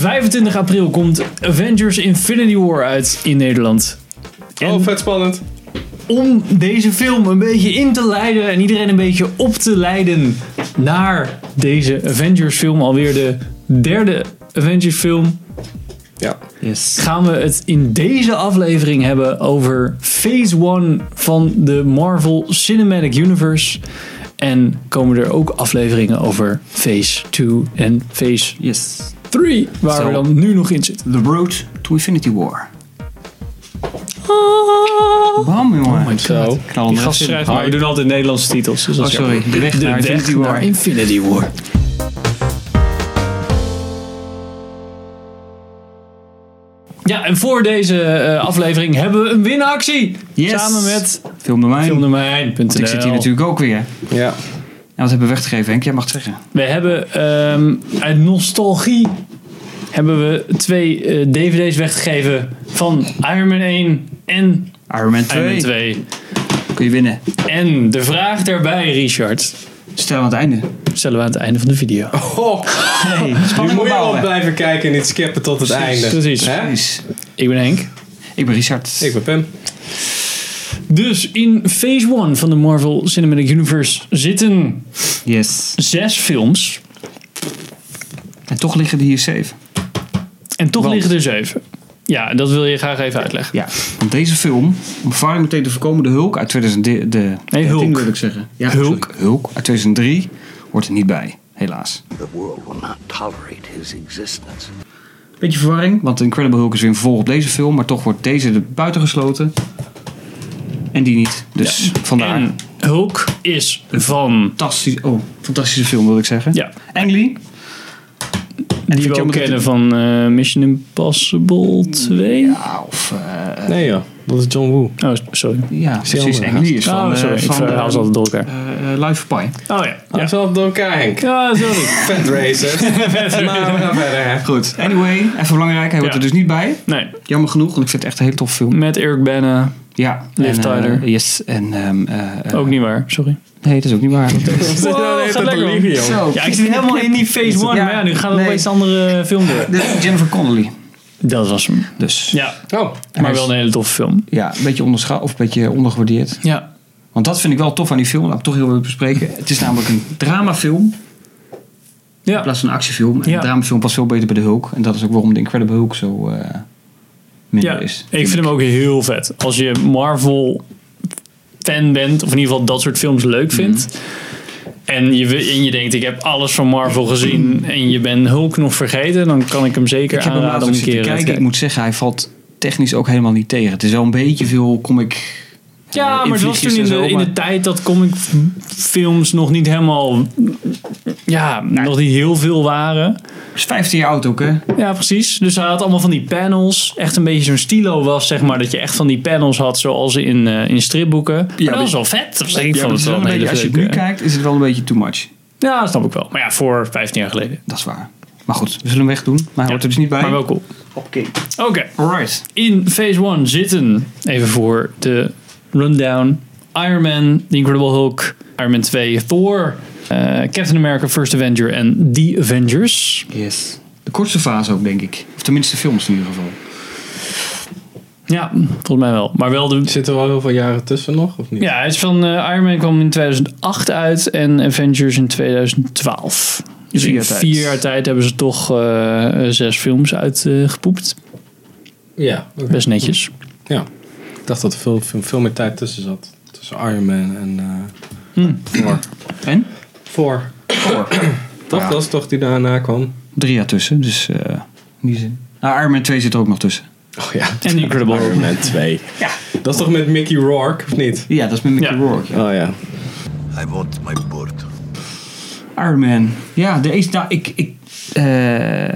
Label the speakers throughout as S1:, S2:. S1: 25 april komt Avengers Infinity War uit in Nederland.
S2: Oh, vet spannend.
S1: Om deze film een beetje in te leiden en iedereen een beetje op te leiden naar deze Avengers film. Alweer de derde Avengers film.
S2: Ja.
S1: Gaan we het in deze aflevering hebben over Phase 1 van de Marvel Cinematic Universe. En komen er ook afleveringen over Phase 2 en Phase
S3: Yes.
S1: 3, waar
S3: Zo.
S1: we dan nu nog in zitten.
S3: The Road to Infinity War.
S1: Ah.
S3: Bam, jongen. Oh
S1: Zo.
S3: Knal
S1: Die gast schrijft maar. We doen altijd Nederlandse titels. Dus dat
S3: Oh,
S1: is
S3: sorry.
S1: jammer.
S3: De weg naar Infinity War.
S1: naar Infinity War. Ja, en voor deze eh, aflevering hebben we een winactie.
S3: Yes.
S1: Samen met
S3: Film door mij.
S1: filmdomein.nl.
S3: Ik zit hier natuurlijk ook weer.
S2: Ja.
S3: En wat hebben we weggegeven, Henk? Jij mag het zeggen.
S1: We hebben ehm, uit nostalgie hebben we twee eh, dvd's weggegeven van Iron Man 1 en
S3: Iron Man
S1: Iron Man
S3: 2.
S1: 2.
S3: Kun je winnen.
S1: En de vraag daarbij, Richard,
S3: Stel aan het einde.
S1: stellen we aan het einde van de video.
S2: Oh,
S3: Hey,
S2: nu
S3: spanning
S2: moet je wel
S3: opbouwen.
S2: blijven kijken en niet skippen tot het einde.
S1: precies.
S2: Hè?
S3: Precies.
S1: Ik ben Henk.
S3: Ik ben Richard.
S2: Ik ben Pim.
S1: Dus in Phase 1 van de Marvel Cinematic Universe zitten
S3: Yes.
S1: zes films.
S3: En toch liggen die hier zeven.
S1: En toch
S3: Want?
S1: liggen er zeven. Ja, dat wil je graag even uitleggen.
S3: Ja. Want deze film, om ervaring meteen te voorkomen, de Hulk uit 2003. De,
S1: Nee, Hulk.
S3: wil ik zeggen. Ja,
S1: Hulk.
S3: sorry. Hulk uit 2003 hoort er niet bij, helaas.
S4: The world will not tolerate his existence.
S3: Beetje verwarring, want Incredible Hulk is weer een vervolg op deze film, maar toch wordt deze er buiten gesloten. En die niet. Dus vandaar.
S1: En Hulk is van...
S3: Fantastisch, oh, fantastische film wil ik zeggen.
S1: Ja,
S3: Ang Lee. En
S1: die we ook kennen van eh, Mission Impossible 2.
S3: Ja, of... eh,
S2: Nee joh, dat is John Woo.
S1: Oh, sorry.
S3: ja, precies.
S2: andere
S3: Ang Lee is van...
S1: Oh,
S3: eh,
S1: sorry. Ik
S3: van,
S1: verhaal ze altijd door elkaar.
S3: eh, eh, Life of Pi.
S1: Oh ja.
S2: Hij
S1: Ja,
S2: is wel door elkaar Henk.
S1: ja sorry.
S2: Vet racer. maar we gaan verder hè.
S3: Goed. Anyway, even belangrijk. Hij hoort
S1: Ja.
S3: er dus niet bij.
S1: Nee,
S3: Jammer genoeg, want ik vind het echt een hele tof film.
S1: met Eric Bana.
S3: Ja.
S1: Liv
S3: en, eh,
S1: Tyler.
S3: yes. En... ehm, eh, eh,
S1: Ook niet waar, sorry.
S3: Nee, dat is ook niet waar.
S1: Wow, gaat
S2: nou
S1: lekker, hoor.
S3: Zo.
S1: Ja, ik zit helemaal in die Phase 1, maar ja, nu gaan we
S3: Nee.
S1: opeens een andere eh, film door.
S3: De- Jennifer Connelly.
S1: Dat was hem.
S3: Dus
S1: Ja,
S2: Oh,
S1: maar wel een hele toffe film.
S3: ja, een beetje onderschat of een beetje ondergewaardeerd.
S1: Ja,
S3: Want dat vind ik wel tof aan die film. Laat ik toch heel even bespreken. Het is namelijk een dramafilm in
S1: ja.
S3: plaats van een actiefilm. En
S1: Ja.
S3: Een dramafilm past veel beter bij de Hulk. En dat is ook waarom de Incredible Hulk zo eh minder
S1: ja.
S3: is.
S1: Ik vind hem ook heel vet. Als je Marvel fan bent, of in ieder geval dat soort films leuk
S3: Mhm.
S1: vindt. En je, wi- en je denkt, ik heb alles van Marvel gezien en je bent Hulk nog vergeten, dan kan ik hem zeker
S3: Ik heb hem
S1: aanraden
S3: later
S1: eh, om een
S3: zitten
S1: keer
S3: kijken.
S1: te
S3: Ik
S1: kijken.
S3: moet zeggen, hij valt technisch ook helemaal niet tegen. Het is wel een beetje veel comic...
S1: Ja, maar het was toen in de, in de tijd dat comicfilms nog niet helemaal, ja, nog niet heel veel waren.
S3: is 15 jaar oud ook, hè?
S1: Ja, precies. Dus hij had allemaal van die panels. Echt een beetje zo'n stilo was, zeg maar. Dat je echt van die panels had, zoals in, eh, in stripboeken. Ja, dat
S3: maar-
S1: was wel vet. Dat was- Ik
S3: Ja,
S1: vond het
S3: maar het dus is
S1: wel
S3: wel
S1: een
S3: een beetje-
S1: hele
S3: als je het
S1: leuke- eh,
S3: nu kijkt, is het wel een beetje too much.
S1: Ja, dat snap ik wel. Maar ja, voor 15 jaar geleden.
S3: Dat is waar. Maar goed, we zullen hem wegdoen. Maar hij hoort er dus niet bij.
S1: Maar wel cool.
S3: Oké.
S1: Oké.
S3: Alright.
S1: In Phase 1 zitten, even voor de rundown, Iron Man, The Incredible Hulk, Iron Man 2, Thor, eh, Captain America, First Avenger en The Avengers.
S3: Yes. De kortste fase ook, denk ik. Of tenminste films in ieder geval.
S1: Ja, volgens mij wel. Maar wel de
S2: Zitten er wel heel veel jaren tussen nog, of niet?
S1: Ja, hij is van eh, Iron Man kwam in 2008 uit en Avengers in 2012. Dus
S3: Vier
S1: in
S3: jaar tijd.
S1: vier jaar tijd hebben ze toch eh, eh, zes films uitgepoept.
S2: Ja, oké.
S1: Best netjes.
S2: ja. Ik dacht dat er veel, veel, veel meer tijd tussen zat. Tussen Iron Man en eh
S1: Hm.
S2: Thor.
S3: En?
S2: Thor.
S3: Thor.
S2: Toch?
S3: Ja.
S2: Dat is toch die daarna kwam?
S3: Drie jaar tussen, dus eh, in die zin. Nou, Iron Man 2 zit er ook nog tussen.
S2: Oh ja.
S1: En Incredible
S2: Iron
S1: Hulk.
S2: Man 2.
S3: Ja.
S2: Dat is toch met Mickey Rourke, of niet?
S3: Ja, dat is met Mickey
S1: Ja.
S3: Rourke. ja.
S2: Oh ja.
S4: I want my bird.
S3: Iron Man. Ja, de eerste, nou, ik, ik, eh,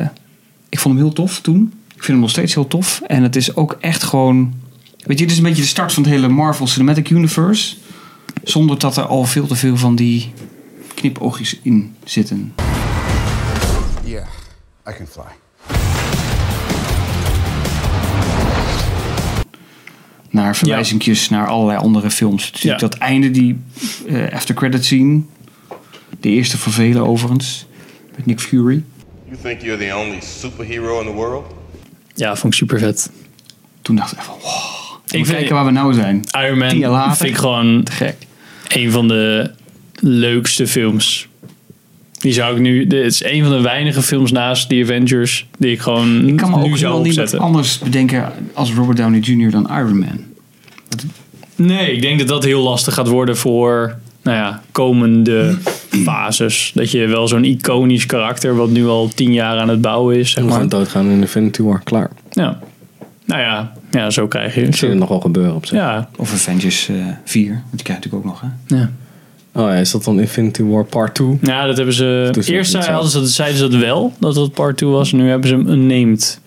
S3: ik vond hem heel tof toen. Ik vind hem nog steeds heel tof. En het is ook echt gewoon... Weet je, dit is een beetje de start van het hele Marvel Cinematic Universe. Zonder dat er al veel te veel van die knipoogjes in zitten.
S4: Yeah, I can fly.
S3: naar verwijzingjes naar allerlei andere films. Het is
S1: Ja.
S3: Dat einde, die eh after credit scene. De eerste voor velen overigens. Met Nick Fury.
S5: You think you're the only superhero in the world?
S1: Ja, vond ik super vet.
S3: Toen dacht ik echt van, wow. Ik
S1: vind-
S3: kijken waar we nou zijn.
S1: Iron Man
S3: Tien jaar later.
S1: vind ik gewoon
S3: Te gek.
S1: een van de leukste films. Die zou ik nu. Dit is een van de weinige films naast The Avengers die ik gewoon
S3: Ik kan me
S1: nu zou
S3: ook helemaal niemand
S1: opzetten.
S3: anders bedenken als Robert Downey Jr. dan Iron Man.
S1: Nee, ik denk dat dat heel lastig gaat worden voor nou ja, komende fases. Dat je wel zo'n iconisch karakter, wat nu al tien jaar aan het bouwen is, zeg
S2: We
S1: maar.
S2: gaan doodgaan in Infinity War, klaar.
S1: Ja. Nou ja, ja, zo krijg je.
S2: Ik zie het
S1: Zo,
S2: nogal gebeuren op zich.
S1: ja,
S3: Of Avengers eh 4. Want die krijg je natuurlijk ook nog, hè?
S1: ja.
S2: Oh ja, is dat dan Infinity War Part 2?
S1: Ja, dat hebben ze.
S2: Toen ze
S1: Eerst
S2: dat niet
S1: zeiden ze, dat, zeiden ze dat wel, dat dat part 2 was. Nu hebben ze hem unnamed.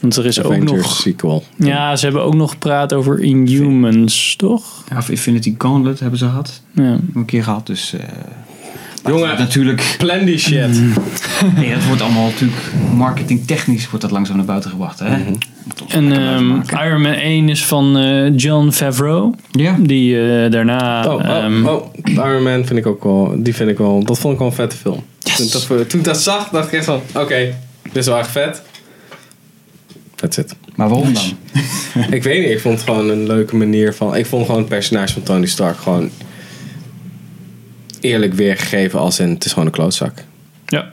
S1: Want er is
S2: Avengers
S1: ook nog.
S2: sequel.
S1: Ja, ze hebben ook nog gepraat over Inhumans, toch?
S3: Ja, of Infinity Gauntlet hebben ze gehad.
S1: Ja.
S3: Een keer gehad, dus... eh,
S2: Jongen.
S3: natuurlijk.
S2: Plan die shit.
S1: Mm.
S3: Nee, dat wordt allemaal natuurlijk marketingtechnisch wordt dat langzaam naar buiten gebracht, hè?
S1: Mhm.
S3: Toch
S1: En
S3: lekker blijven
S1: ehm,
S3: maken.
S1: Iron Man 1 is van eh John Favreau.
S3: Ja.
S1: Die eh, daarna.
S2: Oh,
S1: ehm,
S2: oh, oh, Iron Man vind ik ook wel, die vind ik wel, dat vond ik wel een vette film. Toen, ik dat, eh, toen ik dat zag, dacht ik echt van, oké, dit is wel echt vet. That's it.
S3: Maar waarom dan?
S2: ik weet niet, ik vond het gewoon een leuke manier van, ik vond gewoon het personage van Tony Stark gewoon eerlijk weergegeven als in, het is gewoon een klootzak.
S1: Ja.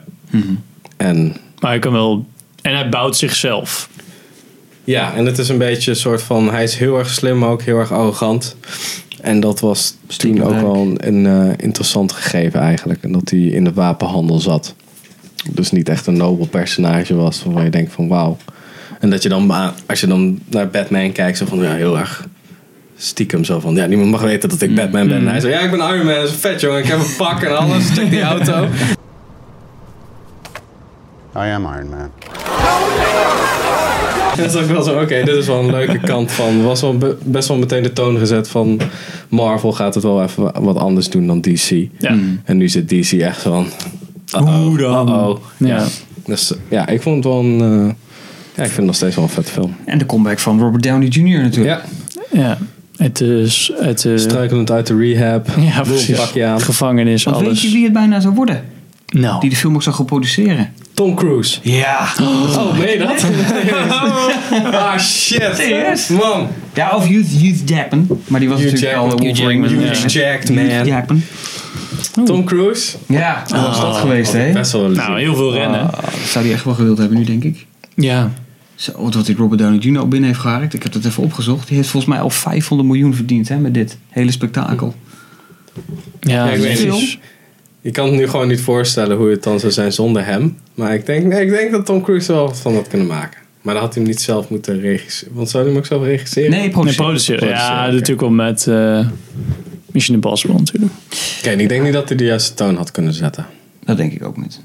S2: En
S1: Maar hij kan wel. En hij bouwt zichzelf.
S2: ja, en het is een beetje een soort van, hij is heel erg slim, maar ook heel erg arrogant. En dat was toen ook wel een, een eh, interessant gegeven eigenlijk. En dat hij in de wapenhandel zat. Dus niet echt een nobel personage was waarvan je denkt van wauw. En dat je dan, ma- als je dan naar Batman kijkt, zo van ja, heel erg stiekem zo van ja, niemand mag weten dat ik Batman ben. En hij zei ja, ik ben Iron Man, dat is vet jongen, ik heb een pak en alles, check die auto.
S4: I am Iron Man.
S2: En dat is ook wel zo, oké, dit is wel een leuke kant van. Was wel be- best wel meteen de toon gezet van Marvel gaat het wel even wa- wat anders doen dan DC.
S1: Ja.
S2: En nu zit DC echt zo van.
S1: Hoe dan?
S2: Oh.
S1: Ja.
S2: Dus eh, ja, ik vond het wel een. eh, ja, ik vind het nog steeds wel een vet film.
S3: En de comeback van Robert Downey Jr. natuurlijk.
S2: Ja,
S1: ja. Het is. Het, eh,
S2: struikelend uit de rehab.
S1: ja,
S2: Doe een
S1: precies.
S2: pakje aan.
S1: Gevangenis,
S3: Want
S1: alles.
S3: weet je wie het bijna zou worden?
S1: Nou.
S3: Die de film ook zou gaan produceren.
S2: Tom Cruise.
S3: Ja.
S2: Oh, meen je dat? ah, shit.
S3: Serieus?
S2: Man.
S3: Ja, of Youth, Youth Jackman. Maar die was
S2: Hugh
S3: natuurlijk al
S2: Jackman.
S3: de Wolverine.
S1: Hugh
S2: He's jacked,
S3: Hugh
S2: man.
S3: Jackman.
S2: Tom Cruise.
S3: Ja, dat was dat geweest, hè?
S2: Oh, Best wel een
S1: Nou, heel veel rennen.
S3: Oh, dat zou hij echt wel gewild hebben nu, denk ik.
S1: Ja.
S3: Zo, wat, wat die Robert Downey Jr. al binnen heeft geharkt. Ik heb dat even opgezocht. Die heeft volgens mij al 500 miljoen verdiend hè, met dit hele spektakel.
S1: Ja,
S2: ik weet
S1: precies.
S3: niet.
S2: Je kan het nu gewoon niet voorstellen hoe het dan zou zijn zonder hem. Maar ik denk, nee, ik denk dat Tom Cruise wel wat van had kunnen maken. Maar dan had hij hem niet zelf moeten regisseren. Want zou hij hem ook zelf regisseren?
S3: Nee,
S1: Nee,
S3: produceren.
S1: produceren.
S2: Produceren,
S1: Ja,
S2: oké.
S1: natuurlijk wel met eh Mission Impossible natuurlijk.
S2: Oké, en ik denk niet dat hij de juiste toon had kunnen zetten.
S3: Dat denk ik ook niet.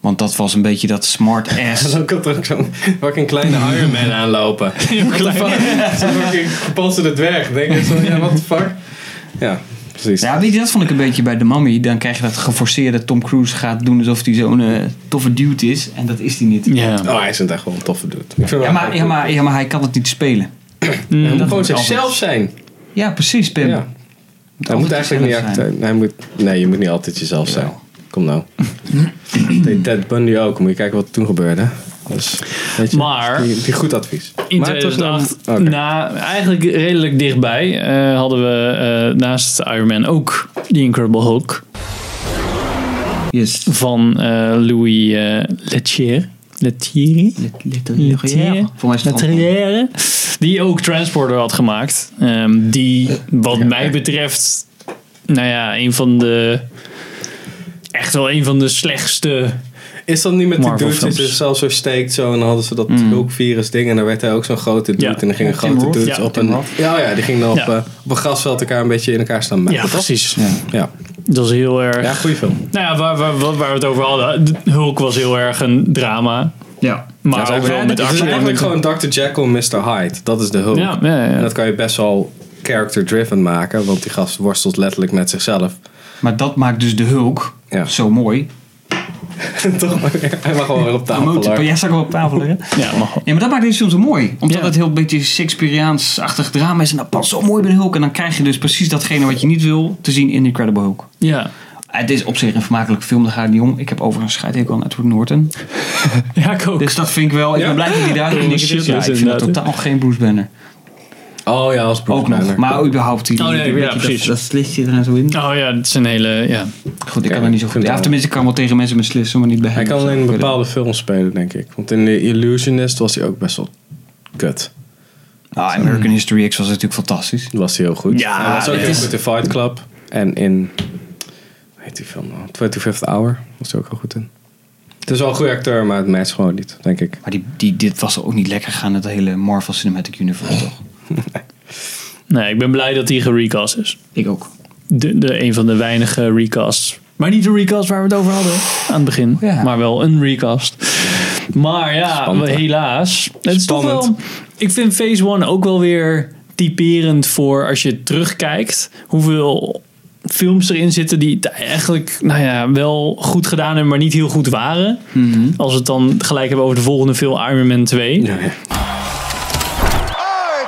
S3: Want dat was een beetje dat smart ass.
S2: Zo kan Dus er ook zo'n fucking kleine Iron Man aanlopen. What the fuck? Zo'n fucking gepolsterde dwerg. Denk ik zo, ja, what the fuck? Ja, precies.
S3: Ja, weet je, dat vond ik een beetje bij de mummy. Dan krijg je dat geforceerde Tom Cruise gaat doen alsof hij zo'n eh, toffe dude is. En dat is hij niet.
S1: Ja.
S2: Oh, hij is het echt wel een toffe dude. Ik vind hem
S3: Ja,
S2: wel
S3: maar,
S2: cool.
S3: ja, maar, ja, maar hij kan het niet spelen.
S2: Hij moet
S3: dat
S2: gewoon
S3: moet altijd.
S2: zichzelf zijn.
S3: Ja, precies, Pim.
S2: Ja. Hij moet
S3: altijd
S2: eigenlijk niet
S3: jezelf zijn.
S2: acteren. Hij moet, nee, je moet niet altijd jezelf zijn. Kom nou. Deed Ted Bundy ook. Moet je kijken wat toen gebeurde. Dus, weet je,
S1: Maar-
S2: die, die goed advies.
S1: In
S2: Maar het was dan-
S1: 2008,
S2: Oké.
S1: na, eigenlijk redelijk dichtbij, eh, hadden we eh, naast Iron Man ook The Incredible Hulk
S3: Yes.
S1: van eh, Louis eh Leterrier. Leterrier?
S3: Letterlijk. Volgens mij is het gewoon-
S1: Leterrier. Die ook Transporter had gemaakt. Ehm, die, wat mij betreft, nou ja, een van de. Echt wel een van de slechtste.
S2: Is dat niet met die
S1: Marvel
S2: dude die
S1: films. Mm.
S2: zichzelf zo steekt zo en dan hadden ze dat hulkvirus ding en daar werd hij ook zo'n grote dude
S1: Ja.
S2: en dan gingen
S3: Tim
S2: grote
S3: Roth.
S2: dudes
S1: Ja,
S2: op
S1: Tim
S2: een
S3: Roth.
S2: ja ja die gingen dan op,
S1: Ja.
S2: eh, op een grasveld elkaar een beetje in elkaar staan met
S1: Ja, precies.
S2: ja
S1: Dat is heel erg.
S2: ja goede film
S1: Nou ja, waar, waar, waar, waar we het over hadden. De Hulk was heel erg een drama.
S3: Ja.
S1: Maar
S2: Ja,
S1: ook wel
S2: het
S1: met
S2: is
S1: actie.
S2: eigenlijk gewoon Dr. Jekyll en Mr. Hyde. Dat is de hulp.
S1: Ja, ja, ja.
S2: En dat kan je best wel character-driven maken, want die gast worstelt letterlijk met zichzelf.
S3: Maar dat maakt dus de Hulk
S2: Ja.
S3: zo mooi.
S2: Toch? Hij mag gewoon weer op tafel
S3: Emotie.
S2: hoor.
S3: Ja, zou ik wel op tafel leggen?
S1: Ja, mag wel.
S3: Ja, maar dat maakt deze film zo mooi. Omdat
S1: Ja.
S3: het heel een beetje Shakespeareaans-achtig drama is. En dat past zo mooi bij de Hulk. En dan krijg je dus precies datgene wat je niet wil te zien in Incredible Hulk.
S1: Ja.
S3: Het is op zich een vermakelijke film, daar gaat het niet om. Ik heb overigens scheidhekel aan Edward Norton.
S1: Ja, ik ook.
S3: Dus dat vind ik wel... Ik ben blij dat hij daar
S1: Ja,
S3: in is.
S1: shit,
S3: Oh, Ja,
S1: dat
S3: ik
S1: is
S3: vind dat
S1: inderdaad, hè.
S3: totaal geen Bruce Banner.
S2: Oh ja, als
S3: Ook nog. Maar überhaupt die...
S1: Oh, nee,
S3: die-
S1: ja,
S3: weet je,
S1: precies.
S3: Dat, dat slistje eraan zo in.
S1: Oh ja, dat is een hele... Ja.
S3: Goed, ik kan er niet zo goed... Ja, of tenminste, ik kan wel tegen mensen met slissen, maar niet bij hem.
S2: Hij kan alleen in
S3: Ik weet het.
S2: bepaalde films spelen, denk ik. Want in The Illusionist was hij ook best wel kut.
S3: Nou, American History X was natuurlijk fantastisch.
S2: Was hij heel goed.
S1: Ja,
S2: hij was ook
S1: het
S2: heel
S1: is-
S2: goed in Fight Club. En in, hoe heet die film nou? 25th Hour was hij ook heel goed in. Het is wel een goede acteur, maar het matcht gewoon niet, denk ik.
S3: Maar die, die, dit was ook niet lekker gegaan, het hele Marvel Cinematic Universe, toch?
S1: Nee, ik ben blij dat die gerecast is.
S3: Ik ook.
S1: De, de, een van de weinige recasts. Maar niet de recast waar we het over hadden aan het begin.
S3: Oh Ja.
S1: Maar wel een recast. Maar ja,
S2: Spannend, hè?
S1: helaas. Het is toch
S2: Spannend.
S1: wel... Ik vind Phase 1 ook wel weer typerend voor als je terugkijkt. Hoeveel films erin zitten die het eigenlijk nou ja, wel goed gedaan hebben, maar niet heel goed waren.
S3: Mhm.
S1: Als we het dan gelijk hebben over de volgende film Iron Man 2.
S4: Oh, it's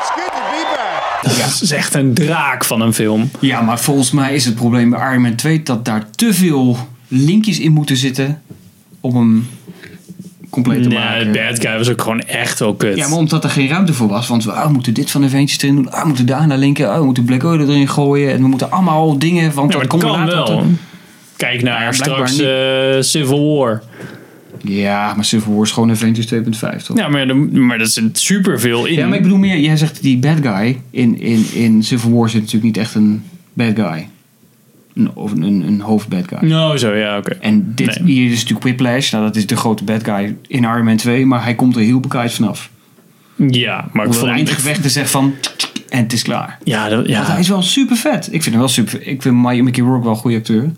S4: good to be back.
S1: Dat is echt een draak van een film.
S3: Ja, maar volgens mij is het probleem bij Iron Man 2 dat daar te veel linkjes in moeten zitten om hem compleet te
S1: Ja,
S3: maken.
S1: de bad guy was ook gewoon echt wel kut.
S3: Ja, maar omdat er geen ruimte voor was. Want we ah, we moeten dit van de ventjes erin doen. Ah, we moeten daar naar linken. Ah, we moeten Black Oil erin gooien. En we moeten allemaal dingen. Want
S1: Ja,
S3: dat
S1: maar
S3: komt
S1: het kan
S3: later
S1: wel.
S3: tot een-
S1: Kijk naar
S3: Ja, blijkbaar
S1: straks
S3: niet.
S1: eh, Civil War.
S3: Ja, maar Civil War is gewoon Avengers 2.5 toch?
S1: Ja, maar, de- maar dat zit superveel in.
S3: Ja, maar ik bedoel meer. Jij zegt die bad guy. In, in, in Civil War zit natuurlijk niet echt een bad guy. Een, of een, een hoofdbad guy.
S1: Oh, zo, ja, oké.
S3: En dit,
S1: Nee.
S3: hier is natuurlijk Whiplash. Nou, dat is de grote bad guy in Iron Man 2. Maar hij komt er heel bekijkt vanaf.
S1: Ja, maar ik
S3: Hoewel
S1: vond...
S3: het eindgevecht is echt van... tsk, tsk, En het is klaar.
S1: Ja, dat,
S3: Want hij
S1: ja,
S3: is wel super vet. Ik vind hem wel super Ik vind Mike- Mickey Rourke wel een goede acteur.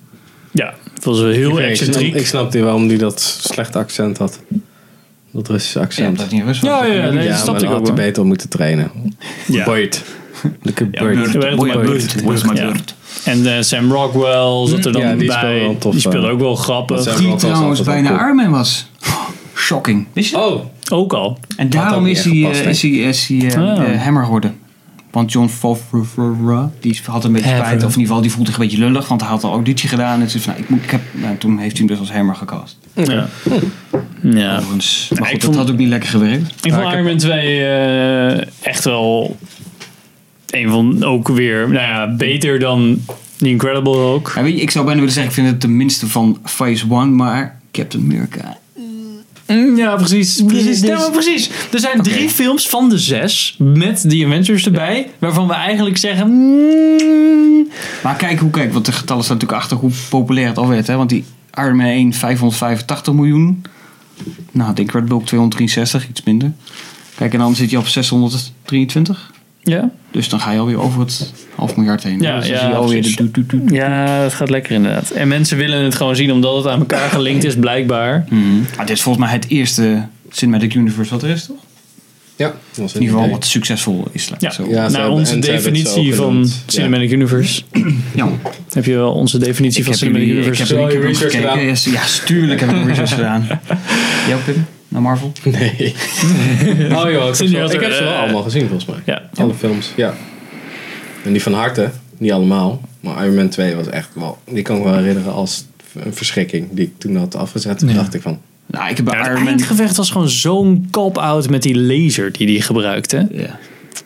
S1: ja, het was wel heel
S2: Ik, snap,
S1: excentriek.
S2: ik snap niet waarom hij dat slechte accent had. Dat Russische accent.
S3: dat niet was.
S1: Ja, ja, nee, dat
S2: maar
S1: snapte
S2: dan
S1: ik
S2: had
S1: ook
S2: hij
S1: wel.
S2: beter moeten trainen.
S1: Ja.
S2: Beurt. Lekker beurt.
S1: Beurt,
S3: Boy,
S1: Beurt.
S3: Beurt. Boy, Beurt.
S1: Ja. En eh, Sam Rockwell zat er dan
S2: Hm. Ja, die
S1: bij.
S2: speelde wel tof,
S1: die
S2: eh.
S1: speelde ook wel grappig.
S2: Dat zijn-
S3: Die
S2: was
S3: trouwens
S2: altijd wel
S3: bijna
S2: cool.
S3: Iron Man was. Shocking. Wist je dat?
S2: Oh,
S1: Ook al.
S3: En daarom
S2: ook
S3: is hij,
S2: niet echt
S3: eh, is
S2: gepast,
S3: hij, is hij eh,
S1: Ah.
S3: eh, Hammer geworden. Want John Favreau, die had een beetje
S1: Favreau.
S3: spijt. Of in ieder geval, die voelde zich een beetje lullig. Want hij had een auditie gedaan. En toen, van, nou, ik moet, ik heb, nou, toen heeft hij hem dus als Hammer gecast.
S1: Ja.
S2: Oh,
S1: ja.
S3: Overigens. Maar
S1: ik
S3: goed,
S1: vond-
S3: dat had ook niet lekker gewerkt.
S1: Ik vond Iron Man 2 eh, echt wel een van ook weer, nou ja, beter dan The Incredible Hulk.
S3: Ja, weet je, ik zou bijna willen zeggen, ik vind het de minste van Phase 1, maar Captain America.
S1: Mm, Ja, precies. precies.
S3: dus-
S1: Ja, maar precies. Er zijn
S3: Oké.
S1: drie films van de zes met The Avengers erbij, waarvan we eigenlijk zeggen. mm,
S3: Maar kijk hoe kijk, want de getallen staan natuurlijk achter hoe populair het al werd. Hè? Want die Iron Man 1, 585 miljoen. Nou, de Incredible Hulk 263, iets minder. Kijk, en dan zit je op 623.
S1: ja.
S3: Dus dan ga je alweer over het half miljard heen.
S1: Ja,
S3: dus dan
S1: ja,
S3: zie je alweer de
S1: precies.
S3: doet, doet, doet.
S1: ja, dat gaat lekker inderdaad. En mensen willen het gewoon zien omdat het aan elkaar gelinkt is, blijkbaar.
S3: Ah, dit is volgens mij het eerste Cinematic Universe wat er is, toch?
S2: ja. dat was
S3: In
S2: een
S3: ieder geval
S2: idee.
S3: wat succesvol is. laat ik
S1: Ja,
S3: het zo.
S2: Ja, ze
S1: naar
S2: hebben-
S1: onze
S2: en ze hebben het
S1: definitie
S2: zo
S1: van
S2: genoemd. Ja.
S1: Cinematic Universe.
S3: Jammer.
S1: Heb je wel onze definitie
S3: Ik
S1: van
S3: heb
S1: Cinematic
S3: jullie, ik
S1: Universe?
S3: heb
S2: Zo,
S3: jullie
S2: je
S3: heb
S2: research
S3: gekeken.
S2: gedaan?
S3: Yes, ja, tuurlijk heb ik research gedaan. Jij ook, Pim? Naar Marvel?
S2: Nee. oh joh, ik heb, ze wel, ik heb ze wel allemaal gezien volgens mij.
S1: eh, Ja.
S3: Oh,
S2: Alle films, ja. En die van harte, niet allemaal. Maar Iron Man 2 was echt wel... Die kan ik me wel herinneren als een verschrikking die ik toen had afgezet. Toen dacht ik van...
S3: Nou, ik heb bij
S1: Ja, het
S3: Iron Man...
S1: eindgevecht was gewoon zo'n cop-out met die laser die hij gebruikte.
S3: Ja.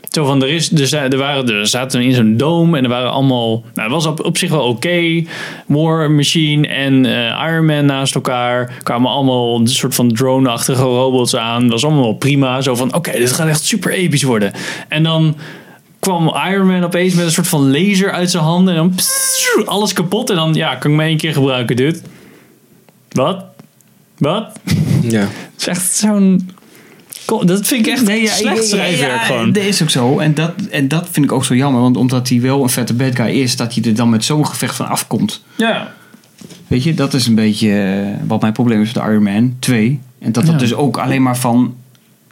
S1: Zo van, er, is, er, zijn- er, waren, er zaten in zo'n dome en er waren allemaal... Nou, het was op, op zich wel oké. War Machine en eh, Iron Man naast elkaar. kwamen allemaal een soort van drone-achtige robots aan. Dat was allemaal wel prima. Zo van, oké, dit gaat echt super episch worden. En dan kwam Iron Man opeens met een soort van laser uit zijn handen. En dan pssst, alles kapot. En dan, ja, kan ik me één keer gebruiken, dude. Wat? Wat?
S2: Ja.
S1: Het is echt zo'n. Ko- Dat vind ik echt
S3: Nee, ja,
S1: slecht
S3: ik-
S1: schrijfwerk
S3: ja,
S1: gewoon.
S3: Dat is ook zo. En dat, en dat vind ik ook zo jammer. Want omdat hij wel een vette bad guy is, dat hij er dan met zo'n gevecht van afkomt.
S1: Ja.
S3: Weet je, dat is een beetje eh, wat mijn probleem is met Iron Man 2. En dat dat
S1: Ja.
S3: dus ook alleen maar van...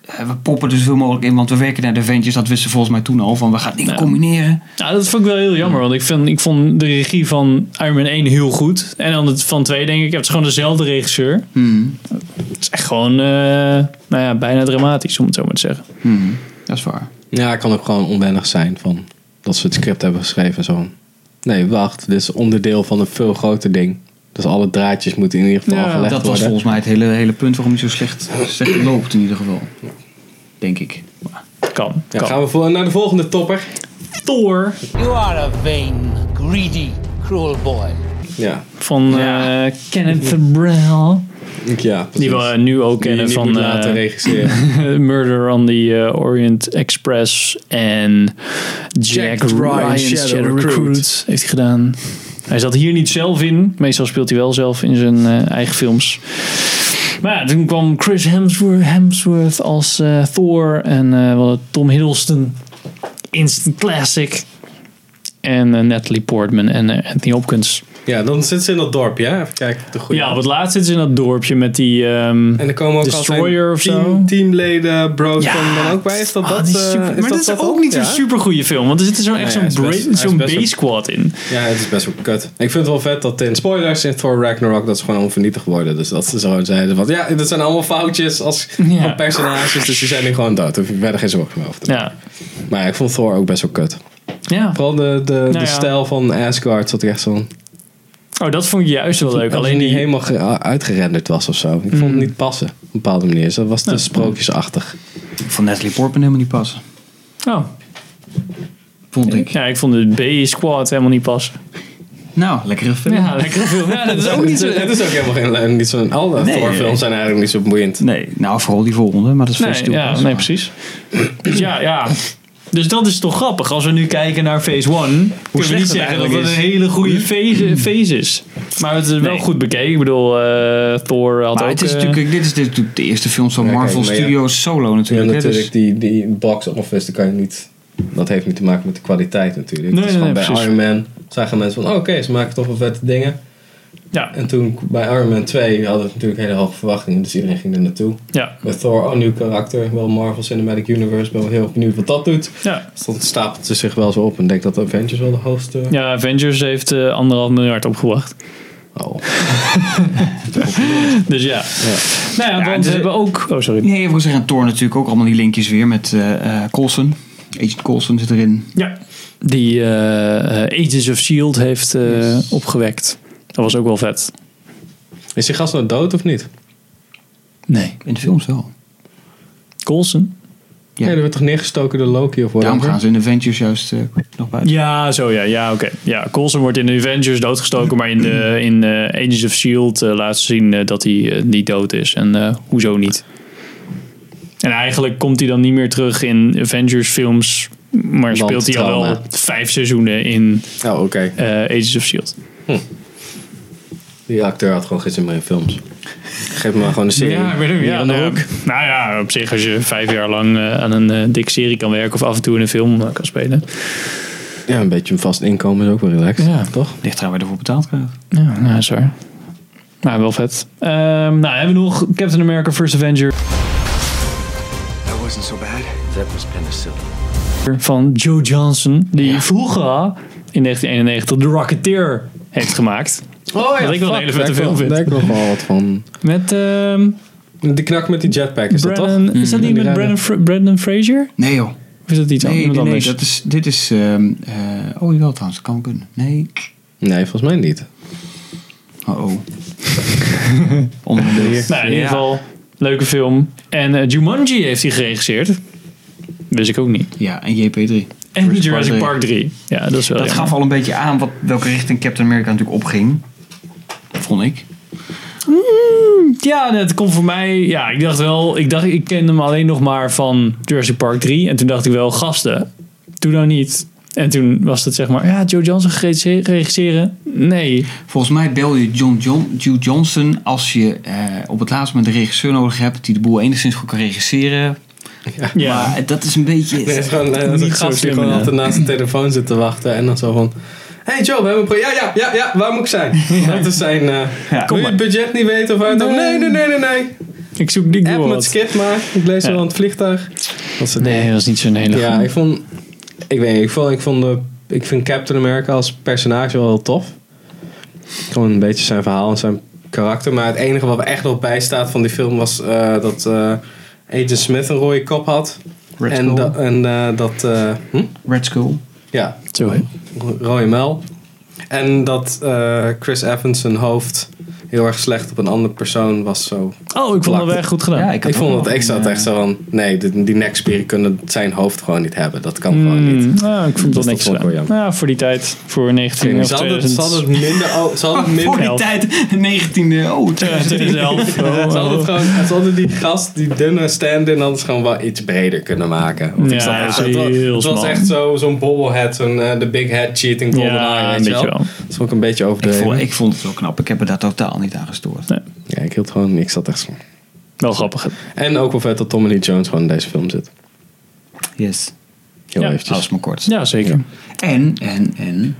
S3: eh, We poppen er zoveel mogelijk in, want we werken naar de Avengers. Dat wisten ze volgens mij toen al, van we gaan dingen
S1: Ja.
S3: combineren.
S1: Nou, dat vond ik wel heel jammer. Want ik, vind, ik vond de regie van Iron Man 1 heel goed. En dan het van 2 denk ik. Het is gewoon dezelfde regisseur.
S2: Hmm.
S1: Het is echt gewoon. eh, nou ja, bijna dramatisch om het zo maar te zeggen.
S3: Dat is waar.
S2: Ja, ik kan ook gewoon onwennig zijn van... Dat ze het script hebben geschreven en zo. Nee, wacht. Dit is onderdeel van een veel groter ding. Dus alle draadjes moeten in ieder geval
S1: Ja,
S2: gelegd
S3: dat was
S2: worden.
S3: volgens mij het hele, hele punt waarom hij zo slecht, slecht loopt in ieder geval. Denk ik. Maar
S1: Kan.
S2: Ja,
S1: kan.
S2: gaan we voor, naar de volgende topper.
S1: Thor
S6: You are a vain, greedy, cruel boy.
S2: Ja,
S1: van eh, Kenneth Branagh.
S2: ja precies.
S1: Die we eh, nu ook
S2: Die je
S1: kennen
S2: niet
S1: van
S2: moet laten
S1: eh,
S2: regisseren.
S1: Murder on the eh, Orient Express en Jack,
S2: Jack Ryan
S1: Ryan's
S2: Shadow
S1: Shadow,
S2: Recruit.
S1: Recruit. heeft hij gedaan. Hij zat hier niet zelf in. Meestal speelt hij wel zelf in zijn eh, eigen films. Maar ja, toen kwam Chris Hemsworth, Hemsworth als eh, Thor en eh, we hadden Tom Hiddleston. Instant Classic. En eh, Natalie Portman en eh, Anthony Hopkins.
S2: ja, dan zitten ze in dat dorpje. Hè? Even kijken of de goede...
S1: Ja, op het laatst zitten ze in dat dorpje met die... ehm,
S2: en er komen ook
S1: Destroyer
S2: altijd
S1: of zo.
S2: team, teamleden, bro's van dan ook bij. Is dat
S1: Ah,
S2: dat?
S1: die is
S2: eh,
S1: super-
S2: is
S1: maar dat is
S2: dat
S1: ook
S2: dan?
S1: niet
S2: Ja.
S1: zo'n super goede film. Want er zit zo'n, echt
S2: Nee, hij is
S1: zo'n,
S2: best-
S1: bra-
S2: hij is
S1: zo'n
S2: best een-
S1: B-squad in.
S2: Ja, het is best wel kut. Ik vind het wel vet dat in spoilers in Thor Ragnarok dat ze gewoon onvernietigd worden. Dus dat ze zo zeiden van ja, dat zijn allemaal foutjes als
S1: Ja.
S2: van personages. Dus die zijn nu gewoon dood. Daar hoef je verder geen zorgen meer over te
S1: Ja.
S2: maken. Maar ja, ik vond Thor ook best wel kut.
S1: ja.
S2: Vooral de, de, de
S1: Nou ja.
S2: stijl van Asgard zat ik echt zo'n...
S1: Oh, dat vond ik juist wel leuk.
S2: Alleen
S1: Alleen
S2: niet
S1: die...
S2: helemaal ge- uitgerenderd was of zo. Ik vond
S1: Mm.
S2: het niet passen op een bepaalde manier. Dus dat was te sprookjesachtig.
S3: Ik vond Natalie Portman helemaal niet passen.
S1: Oh.
S3: Vond ik.
S1: Ja, ik vond de B-squad helemaal niet passen.
S3: Nou, lekkere film.
S1: Ja, lekker film. Ja, dat is ook niet zo...
S2: Het is ook helemaal geen, niet zo'n... Alle
S3: Nee.
S2: Thor-films zijn eigenlijk niet zo boeiend.
S3: Nee, nou vooral die volgende, maar dat is veel
S1: Nee,
S3: stoer.
S1: ja, nee, precies. Dus ja, ja. Dus dat is toch grappig. Als we nu kijken naar Phase 1, kunnen we
S3: slecht
S1: niet
S3: het
S1: zeggen dat het
S3: eigenlijk
S1: een hele goede phase, phase is. Maar het is wel
S3: Nee.
S1: goed bekeken. Ik bedoel, eh, Thor had
S3: Maar
S1: ook...
S3: het is
S1: eh,
S3: natuurlijk, dit is natuurlijk de eerste film van
S2: Ja, kijk,
S3: Marvel
S2: maar ja.
S3: Studios solo
S2: Ja,
S3: natuurlijk. hè, dus-
S2: natuurlijk, die, die box office, die kan je niet, dat heeft niet te maken met de kwaliteit natuurlijk.
S1: Nee,
S2: Het is
S1: nee, nee,
S2: gewoon bij
S1: precies.
S2: Iron Man zagen mensen van, oh, oké, ze maken toch wel vette dingen.
S1: Ja,
S2: En toen bij Iron Man 2 hadden we natuurlijk hele hoge verwachtingen, dus iedereen ging er naartoe.
S1: ja,
S2: Met Thor, oh, nieuw karakter, wel Marvel Cinematic Universe, ben wel heel benieuwd wat dat doet.
S1: ja.
S2: Dus dan stapelt ze zich wel zo op en denk dat Avengers wel de hoogste...
S1: Ja, Avengers heeft eh, anderhalf miljard opgebracht.
S2: Oh.
S1: Dus ja. Nou ja, want
S3: dus-
S1: we hebben ook... Oh, sorry.
S3: Nee, ik wil zeggen, Thor natuurlijk ook allemaal die linkjes weer met eh eh, Coulson. Agent Coulson zit erin.
S1: Ja. Die eh, eh, Agents of S.H.I.E.L.D. heeft eh, opgewekt. Dat was ook wel vet.
S2: Is die gast nou dood of niet?
S1: Nee.
S3: In de films wel.
S1: Coulson?
S3: Ja.
S2: Ja, er werd toch neergestoken door Loki of whatever?
S3: Daarom gaan ze in Avengers juist eh, nog buiten.
S1: Ja, zo ja. Ja, oké. Ja, Coulson wordt in de Avengers doodgestoken. Maar in, de, in eh, Agents of S.H.I.E.L.D. eh, laat ze zien eh, dat hij eh, niet dood is. En eh, hoezo niet? En eigenlijk komt hij dan niet meer terug in Avengers films. Maar speelt hij al wel
S2: trauma.
S1: vijf seizoenen in
S2: Oh, oké.
S1: eh, Agents of S.H.I.E.L.D.
S2: Die acteur had gewoon geen zin meer in films. Geef me maar gewoon een serie.
S1: Ja, ik weet het niet.
S2: Hier
S1: Ja,
S2: aan de
S1: nou,
S2: hoek.
S1: nou ja, op zich als je vijf jaar lang eh, aan een eh, dik serie kan werken of af en toe in een film eh, kan spelen.
S2: Ja, een beetje een vast inkomen is ook wel relaxed.
S1: Ja.
S2: toch?
S3: Ligt eraan waar je ervoor betaald krijgt.
S1: Ja, nou, is waar. Maar wel vet. Ehm, nou, hebben we nog Captain America First Avenger
S7: That wasn't so bad. That was penicillin.
S1: van Joe Johnson. Die vroeger in 1991 The Rocketeer heeft gemaakt.
S2: Oh
S1: ja, ik wel een hele vette film vind.
S2: Daar heb ik nog wel wat van.
S1: Met ehm
S2: Die knak met die jetpack, is dat
S1: Brandon...
S2: toch? Mm.
S1: Is dat niet met Brandon, Fra- Brandon Fraser?
S3: Nee joh.
S1: Of is dat iets
S3: Nee,
S1: iemand
S3: nee, nee,
S1: anders?
S3: dat is, dit is... ehm eh oh, jawel trouwens, dat kan kunnen. Nee.
S2: Nee, volgens mij niet.
S3: Oh oh. Onder de deur.
S1: Nou, in ieder
S3: Ja.
S1: geval, leuke film. En eh, Jumanji heeft hij geregisseerd. Wist ik ook niet.
S3: Ja, en JP3.
S1: En Jurassic, Park,
S3: Park
S1: 3. Ja, dat is wel
S3: Dat
S1: jammer.
S3: gaf al een beetje aan wat, welke richting Captain America natuurlijk opging. Vond ik.
S1: Mm, Ja, dat komt voor mij... Ja, ik dacht wel... Ik dacht, ik kende hem alleen nog maar van Jurassic Park 3. En toen dacht ik wel, gasten, doe nou niet. En toen was het zeg maar... Ja, Joe Johnson geregisseer- regisseren? Nee.
S3: Volgens mij bel je John John, Joe Johnson als je eh, op het laatste moment een regisseur nodig hebt die de boel enigszins goed kan regisseren.
S1: Ja.
S3: Maar dat is een beetje.
S2: Nee, het is gewoon eh, dat is
S1: Niet
S2: een
S1: zo
S2: gast die
S1: slim,
S2: gewoon
S1: ja.
S2: altijd naast de telefoon zit te wachten. En dan zo van... Hé hey Joe, we hebben een project. Ja, ja, ja, ja, waar moet ik zijn? Dat is zijn... eh
S3: Ja,
S2: wil je het budget niet weten of uit? Nee, nee, nee, nee, nee.
S1: ik zoek ik doe
S2: App
S1: wel
S2: met
S1: wat.
S2: skip maar. Ik lees wel
S1: Ja.
S2: aan het vliegtuig. Dat soort
S1: Nee, dat was niet zo'n hele
S2: Ja,
S1: goeie.
S2: ik vond... Ik weet niet, ik vond, ik vond de, ik vind Captain America als personage wel heel tof. Gewoon een beetje zijn verhaal en zijn karakter. Maar het enige wat er echt nog bij staat van die film was eh, dat eh Agent Smith een rode kop had.
S3: Red
S2: en
S3: Skull.
S2: da- en eh, dat... eh, hm?
S3: Red Skull.
S2: Ja,
S1: Zo, hè.
S2: ro- rode muil. En dat eh, Chris Evans zijn hoofd heel erg slecht op een andere persoon was zo.
S1: Oh, ik vond dat wel echt goed gedaan.
S3: Ja,
S2: Ik,
S3: had ook
S2: vond
S3: nog
S2: dat ik
S3: een,
S2: zat
S3: eh,
S2: echt zo van, nee, die, die nekspieren kunnen zijn hoofd gewoon niet hebben. Dat kan gewoon niet.
S1: Mm, nou, ik vond het wel
S2: Dus dat
S1: netjes
S2: vond ik wel
S1: gedaan.
S2: jammer.
S1: Nou Ja, voor die tijd. Voor 19 of
S2: Ze hadden, ze
S1: 2000.
S2: hadden het minder... o- Ze hadden, het
S3: Voor
S2: minder
S3: die tijd, 19e. Oh,
S1: Ja, 2011.
S2: ze, hadden het
S1: Oh,
S2: gewoon, ze hadden die gast, die dunne stand-in, hadden ze gewoon wel iets breder kunnen maken. Want ik
S1: Ja,
S2: zat echt zo-
S1: heel
S2: het was, het was
S1: smal.
S2: echt zo- zo'n bobblehead, zo'n eh, de big head cheating golden
S1: Ja,
S2: eye,
S1: een
S2: weet je
S1: beetje wel.
S2: Dat vond ik een beetje
S3: Ik
S2: overdreven.
S3: vond, ik vond het wel knap. Ik heb me daar totaal niet aan gestoord.
S1: Nee,
S2: Ja, ik hield gewoon, ik zat echt zo.
S1: wel grappig.
S2: En ook wel vet dat Tommy Lee Jones gewoon in deze film zit.
S3: Yes.
S2: Heel
S1: Ja,
S2: eventjes.
S3: Alles maar kort.
S1: Ja, zeker.
S3: En, en, en.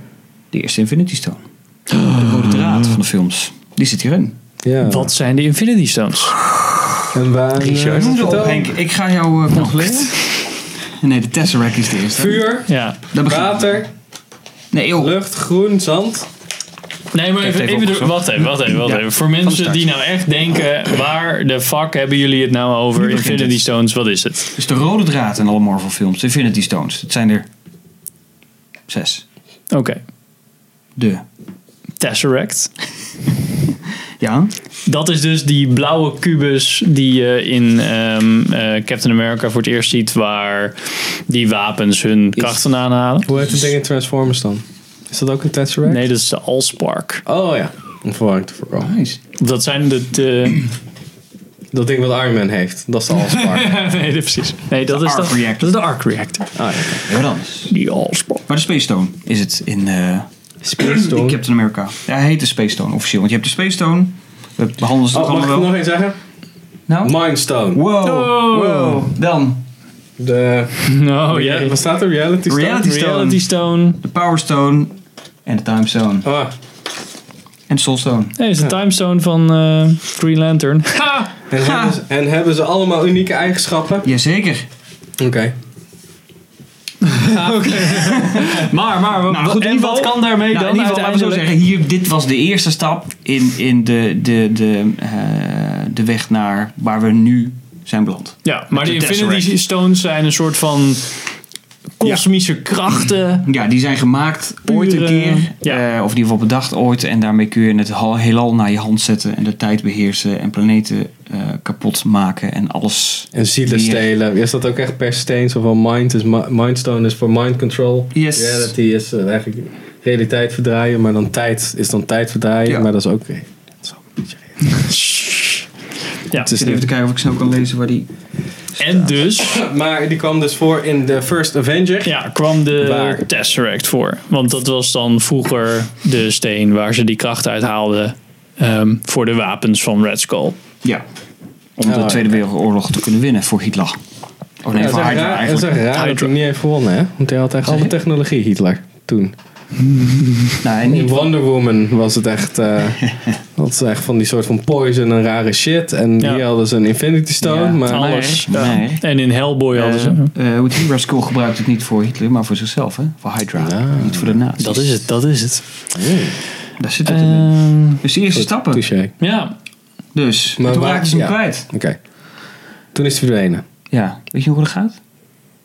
S3: De eerste Infinity Stone. De rode draad van de films. Die zit hierin.
S2: Ja.
S1: Wat zijn de Infinity Stones?
S2: En waar?
S1: Richard.
S2: eh,
S3: Noem ze op,
S2: vertel.
S3: Henk. Ik ga jou eh controleren. Nee, de Tesseract is de eerste.
S2: Nou, Vuur,
S1: Ja.
S3: Daar begin-
S2: water,
S3: Nee, joh.
S2: lucht, groen, zand.
S1: Nee, maar even,
S3: even
S1: even door-
S3: opgezocht.
S1: wacht even, wacht even, wacht
S3: Ja,
S1: even. Voor
S3: van
S1: mensen
S3: start.
S1: die nou echt denken, waar de fuck hebben jullie het nou over?
S3: Nu begint
S1: Infinity
S3: het.
S1: Stones, wat is het?
S3: Dus de rode draad in alle Marvel films. De Infinity Stones. Het zijn er zes.
S1: Oké.
S3: De.
S1: Tesseract.
S3: Ja.
S1: Dat is dus die blauwe kubus die je in ehm, eh, Captain America voor het eerst ziet, waar die wapens hun krachten aanhalen.
S2: Hoe heet het ding in Transformers dan? Is dat ook een Tesseract?
S1: Nee, dat is de Allspark.
S2: Oh ja, om verwarring te voorkomen.
S3: Nice.
S1: Dat zijn de. de
S2: Dat ding wat Iron Man heeft, dat is de Allspark. ah,
S1: nee, precies. Nee, dat is,
S3: arc
S1: de,
S3: reactor.
S1: dat is de Arc Reactor.
S2: ja.
S3: Ja, wat anders.
S1: Die Allspark.
S3: Maar de Space Stone is het in, eh
S2: Space Stone.
S3: in Captain America. Ja, hij heet de Space Stone officieel. Want je hebt de Space Stone. We behandelen ze toch
S2: Oh, mag ik
S3: allemaal
S2: het
S3: wel.
S2: nog één zeggen?
S3: Nou?
S2: Mind Stone.
S3: Wow.
S1: Oh.
S3: Wow. Dan
S2: De,
S1: Oh
S2: oh,
S1: ja.
S2: Wat staat er? Reality Stone?
S3: Reality Stone.
S1: Reality Stone.
S3: de Power Stone. En de Time Stone.
S2: Ah,
S3: En de Soul Stone.
S1: Nee, is de Time Stone van eh, Green Lantern. Ha!
S2: en, hebben ze, en hebben ze allemaal unieke eigenschappen?
S3: Jazeker.
S2: Oké.
S1: Maar, maar, wat,
S3: Nou, goed, in
S1: en
S3: ieder
S1: wat
S3: geval-
S1: kan daarmee
S3: Nou,
S1: dan
S3: in ieder geval, laten we zo zeggen,
S1: uiteindelijk?
S3: hier, dit was de eerste stap in, in de, de, de, eh, de weg naar waar we nu zijn beland.
S1: Ja, maar
S3: Met
S1: de
S3: de
S1: Infinity
S3: Tesseract.
S1: Stones zijn een soort van kosmische krachten.
S3: Ja, die zijn gemaakt ooit een
S1: Pure,
S3: keer.
S1: ja.
S3: eh, of in ieder geval bedacht ooit. En daarmee kun je het hal- heelal naar je hand zetten. En de tijd beheersen. En planeten eh, kapot maken. En alles.
S2: En zielen
S3: weer-
S2: stelen. Is dat ook echt per steen? Zo van mind, is mi- mind Stone is voor mind control.
S3: Yes.
S2: Reality is eh, eigenlijk realiteit verdraaien. Maar dan tijd is dan tijd verdraaien.
S3: Ja.
S2: Maar dat is ook... eh,
S1: Ja.
S2: Het is
S3: Ik zit even te kijken of ik snel kan lezen waar die...
S1: En dus
S2: Maar die kwam dus voor in de First Avenger.
S1: ja, kwam de
S2: Waar?
S1: Tesseract voor. Want dat was dan vroeger de steen waar ze die kracht uithaalden ehm, voor de wapens van Red Skull.
S3: Ja. Om de
S2: Oh,
S3: Tweede Wereldoorlog te kunnen winnen voor Hitler. Of nee,
S2: Ja, het is
S3: voor
S2: echt
S3: Hitler
S2: raar, het is echt
S3: eigenlijk.
S2: raar dat
S1: Hydra.
S2: hij niet heeft gewonnen, hè? Want hij had echt alle
S3: je?
S2: technologie, Hitler, toen.
S3: Nou, en
S2: In Wonder Woman was het echt... eh dat ze echt van die soort van poison en rare shit. En
S1: Ja.
S2: hier hadden ze een Infinity Stone.
S3: Ja.
S2: maar
S3: Maar-
S1: Alles.
S3: maar-
S1: Ja. En in Hellboy hadden ze.
S3: Eh, eh, hoe het Hydra Skull gebruikt het niet voor Hitler, maar voor zichzelf, hè? Voor Hydra. Niet voor de nazi.
S1: Dat is het, Eh, dat is het. Ehm,
S3: Daar zit het in. Dus de eerste stappen.
S2: touché.
S1: Ja,
S3: Dus.
S2: Maar
S3: Maar toen
S2: waar-
S3: raakten ze hem
S2: ja.
S3: kwijt.
S2: Oké. Toen is hij verdwenen.
S3: Ja. Weet je nog hoe dat gaat?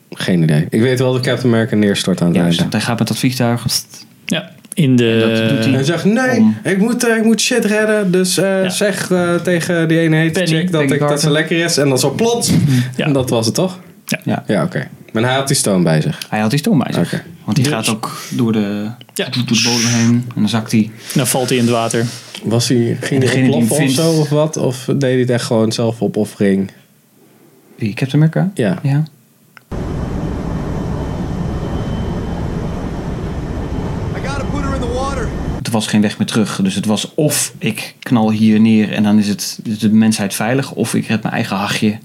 S2: Geen idee. Ik weet wel dat Captain America neerstort aan het
S3: Ja,
S2: einde.
S3: want hij gaat met dat vliegtuig. pst,
S1: ja. In
S3: dat doet
S1: de
S3: hij.
S2: Hij zegt, nee,
S3: Om.
S2: ik, moet, eh, ik moet shit redden. Dus eh,
S1: Ja.
S2: zeg eh, tegen die ene hete
S1: Penny,
S2: chick dat,
S3: Penny
S2: ik, dat ze
S3: Carter.
S2: lekker is. En dan zo plots.
S1: Ja.
S2: En dat was het, toch?
S3: Ja.
S2: Ja, oké. Maar hij had die stone bij zich.
S3: Hij had die stoom bij zich.
S2: Oké.
S3: Want die
S1: Dus.
S3: gaat ook door de,
S1: Ja.
S3: door de bodem heen. En dan zakt hij.
S1: dan Nou, valt hij in het water.
S2: Was hij, ging hij
S3: degene die
S2: ontploffen
S3: hem
S2: of
S3: vindt-
S2: zo of wat? Of deed hij het echt gewoon zelf opoffering?
S3: Die Captain America?
S2: Ja.
S3: Ja.
S4: I gotta put her in the water.
S3: Er was geen weg meer terug. Dus het was of ik knal hier neer en dan is het is de mensheid veilig. Of ik red mijn eigen hachje.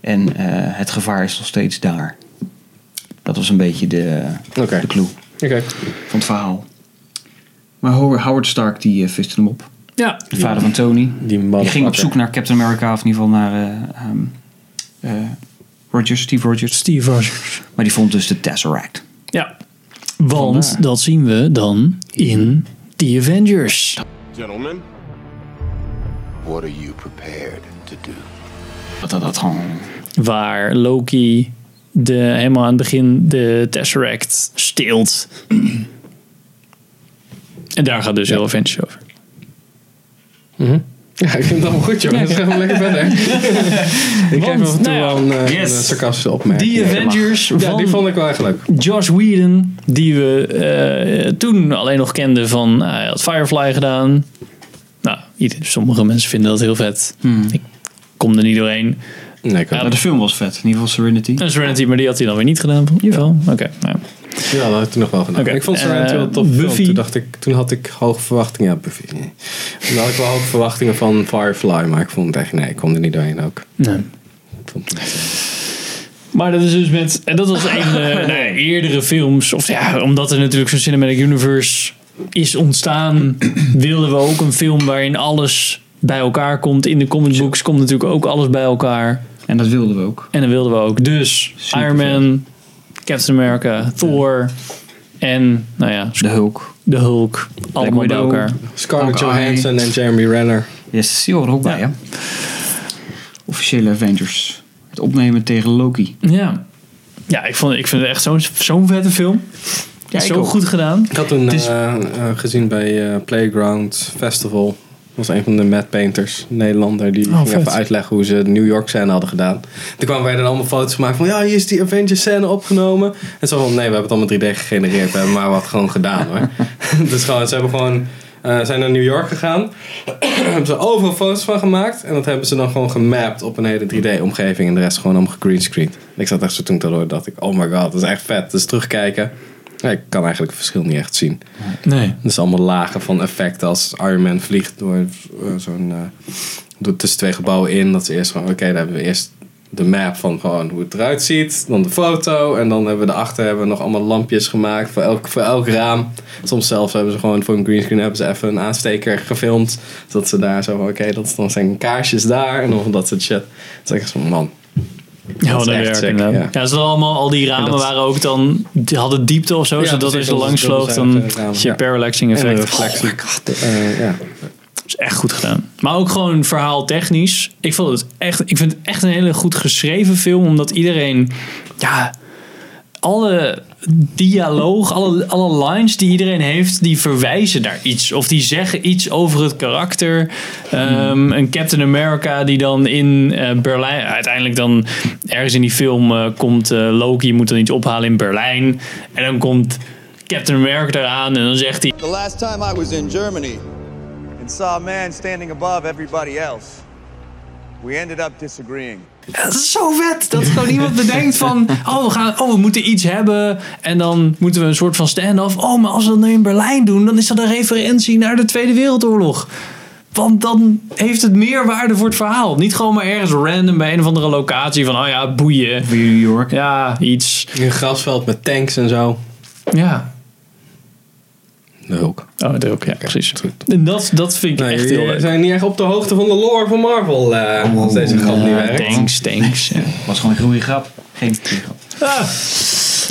S3: En eh, het gevaar is nog steeds daar. Dat was een beetje de,
S2: Oké.
S3: de clue
S2: Oké.
S3: van het verhaal. Maar Ho- Howard Stark die eh, viste hem op.
S1: Ja,
S3: De vader van Tony.
S2: Die
S3: Die ging op
S2: motherfucker.
S3: zoek naar Captain America. Of in ieder geval naar eh, ehm, eh, Rogers, Steve Rogers.
S1: Steve Rogers.
S3: Maar die vond dus de Tesseract.
S1: Ja, want dat zien we dan in The Avengers.
S5: Gentlemen,
S7: What are you prepared to do?
S3: Dat dat, dat gewoon...
S1: Waar Loki de, helemaal aan het begin de Tesseract steelt. En daar gaat dus heel Avengers over.
S2: Ja, ik vind het allemaal goed, joh. Dat gaan we lekker verder. ik
S1: Want,
S2: geef af en toe
S1: nou ja,
S2: wel een, eh,
S3: yes.
S2: een sarcastische opmerking.
S1: Die
S2: Ja,
S1: Avengers
S2: Ja,
S1: van
S2: die vond ik wel echt leuk.
S1: Josh Whedon, die we eh, toen alleen nog kenden van, nou, hij had Firefly gedaan. Nou, ieder- sommige mensen vinden dat heel vet. Ik kom er niet doorheen.
S2: Nee, ik ook
S3: Maar de film was vet. In ieder geval Serenity.
S1: En Serenity, maar die had hij dan weer niet gedaan. Jawel, oké. nou.
S2: niet. Ja, dat had ik toen nog wel gedaan.
S1: Oké.
S2: Ik vond Serenity
S1: Eh,
S2: wel tof.
S1: Buffy.
S2: Toen, dacht ik, toen had ik hoge verwachtingen. Ja, Buffy. nee. Toen had ik wel hoge verwachtingen van Firefly. Maar ik vond het echt, nee, ik kon er niet doorheen ook.
S1: Nee.
S2: Ik vond het niet.
S1: Maar dat is dus met. En dat was een van de nou, eerdere films. Of ja, omdat er natuurlijk zo'n Cinematic Universe is ontstaan. wilden we ook een film waarin alles bij elkaar komt. In de comic books komt natuurlijk ook alles bij elkaar.
S3: En dat wilden we ook.
S1: En dat wilden we ook. Dus
S3: Super
S1: Iron Man, Captain America, Thor. En nou ja,
S3: De Hulk.
S1: de Hulk. Allemaal bij
S3: Widow.
S1: elkaar.
S2: Scarlett
S3: Hawkeye.
S2: Johansson en Jeremy Renner.
S3: Yes, die horen er ook bij, hè? Officiële Avengers. Het opnemen tegen Loki.
S1: Ja. Ja, ik, vond, ik vind het echt zo'n zo'n vette film.
S3: Ja,
S1: zo goed gedaan.
S2: Ik had toen
S3: Het is-
S2: eh, eh, gezien bij eh, Playground Festival. Dat was een van de mad painters, een Nederlander, die
S3: Oh,
S2: ging
S1: vet.
S2: even uitleggen hoe ze de New York scène hadden gedaan. Toen kwamen wij dan allemaal foto's gemaakt van, ja, hier is die Avengers scène opgenomen. En zo van, nee, we hebben het allemaal 3D gegenereerd, we hebben maar wat gewoon gedaan hoor. dus gewoon, ze hebben gewoon, eh, zijn naar New York gegaan, hebben ze overal foto's van gemaakt en dat hebben ze dan gewoon gemapt op een hele 3D omgeving en de rest gewoon allemaal gegreenscreend. En ik zat echt zo toen te horen, dacht ik, oh my god, dat is echt vet. Dus terugkijken, ja, ik kan eigenlijk het verschil niet echt zien.
S1: Nee.
S2: Dus allemaal lagen van effect als Iron Man vliegt door eh, zo'n eh, door tussen twee gebouwen in. Dat is eerst gewoon, oké, dan hebben we eerst de map van gewoon hoe het eruit ziet. Dan de foto. En dan hebben we daarachter hebben we nog allemaal lampjes gemaakt voor elk, voor elk raam. Soms zelfs hebben ze gewoon voor een greenscreen hebben ze even een aansteker gefilmd. Zodat ze daar zo van, oké, dat is- dan zijn kaarsjes daar. En dan van dat soort shit. Dat is echt zo'n man.
S1: Ja,
S2: Dat
S1: wat
S2: is
S1: een
S2: echt
S1: werk
S2: sick,
S1: inderdaad. Ja,
S2: ja.
S1: ze hadden allemaal, al die ramen
S2: dat-
S1: waren ook dan, die hadden diepte of zo, zodat als
S2: precies,
S1: je
S2: dat
S1: langs
S2: is dubbel
S1: vloog, dan
S2: zijdige ramen.
S1: had je
S2: Ja.
S1: parallaxing
S2: En een
S1: effect. Oh
S2: reflectie. Eh, ja.
S1: Dat is echt goed gedaan. Maar ook gewoon verhaaltechnisch. Ik, vond het echt, ik vind het echt een hele goed geschreven film. Omdat iedereen... Ja, alle dialoog, alle, alle lines die iedereen heeft... die verwijzen naar iets. Of die zeggen iets over het karakter. Ehm, Een Captain America die dan in eh, Berlijn... Uiteindelijk dan ergens in die film eh, komt eh, Loki... moet dan iets ophalen in Berlijn. En dan komt Captain America eraan en dan zegt hij...
S4: The last time I was in Germany and saw a man standing above everybody else, we ended up disagreeing.
S1: Dat is zo vet dat gewoon iemand bedenkt van... Oh we, gaan, oh, we moeten iets hebben. En dan moeten we een soort van stand-off. Oh, maar als we dat nu in Berlijn doen... dan is dat een referentie naar de Tweede Wereldoorlog. Want dan heeft het meer waarde voor het verhaal. Niet gewoon maar ergens random bij een of andere locatie... van, oh ja, boeien.
S3: Bij New York.
S1: Ja, iets.
S2: Een grasveld met tanks en zo.
S1: Ja.
S2: Leuk.
S1: Oh, dat ook, ja, precies.
S2: goed.
S1: En dat, dat vind ik
S2: Nee,
S1: echt
S2: jullie
S1: heel leuk.
S2: zijn niet echt op de hoogte van de lore van Marvel. eh, als deze grap niet werkt.
S1: Thanks, thanks. Ja.
S3: was gewoon een goede grap. Geen goede grap.
S2: Ah.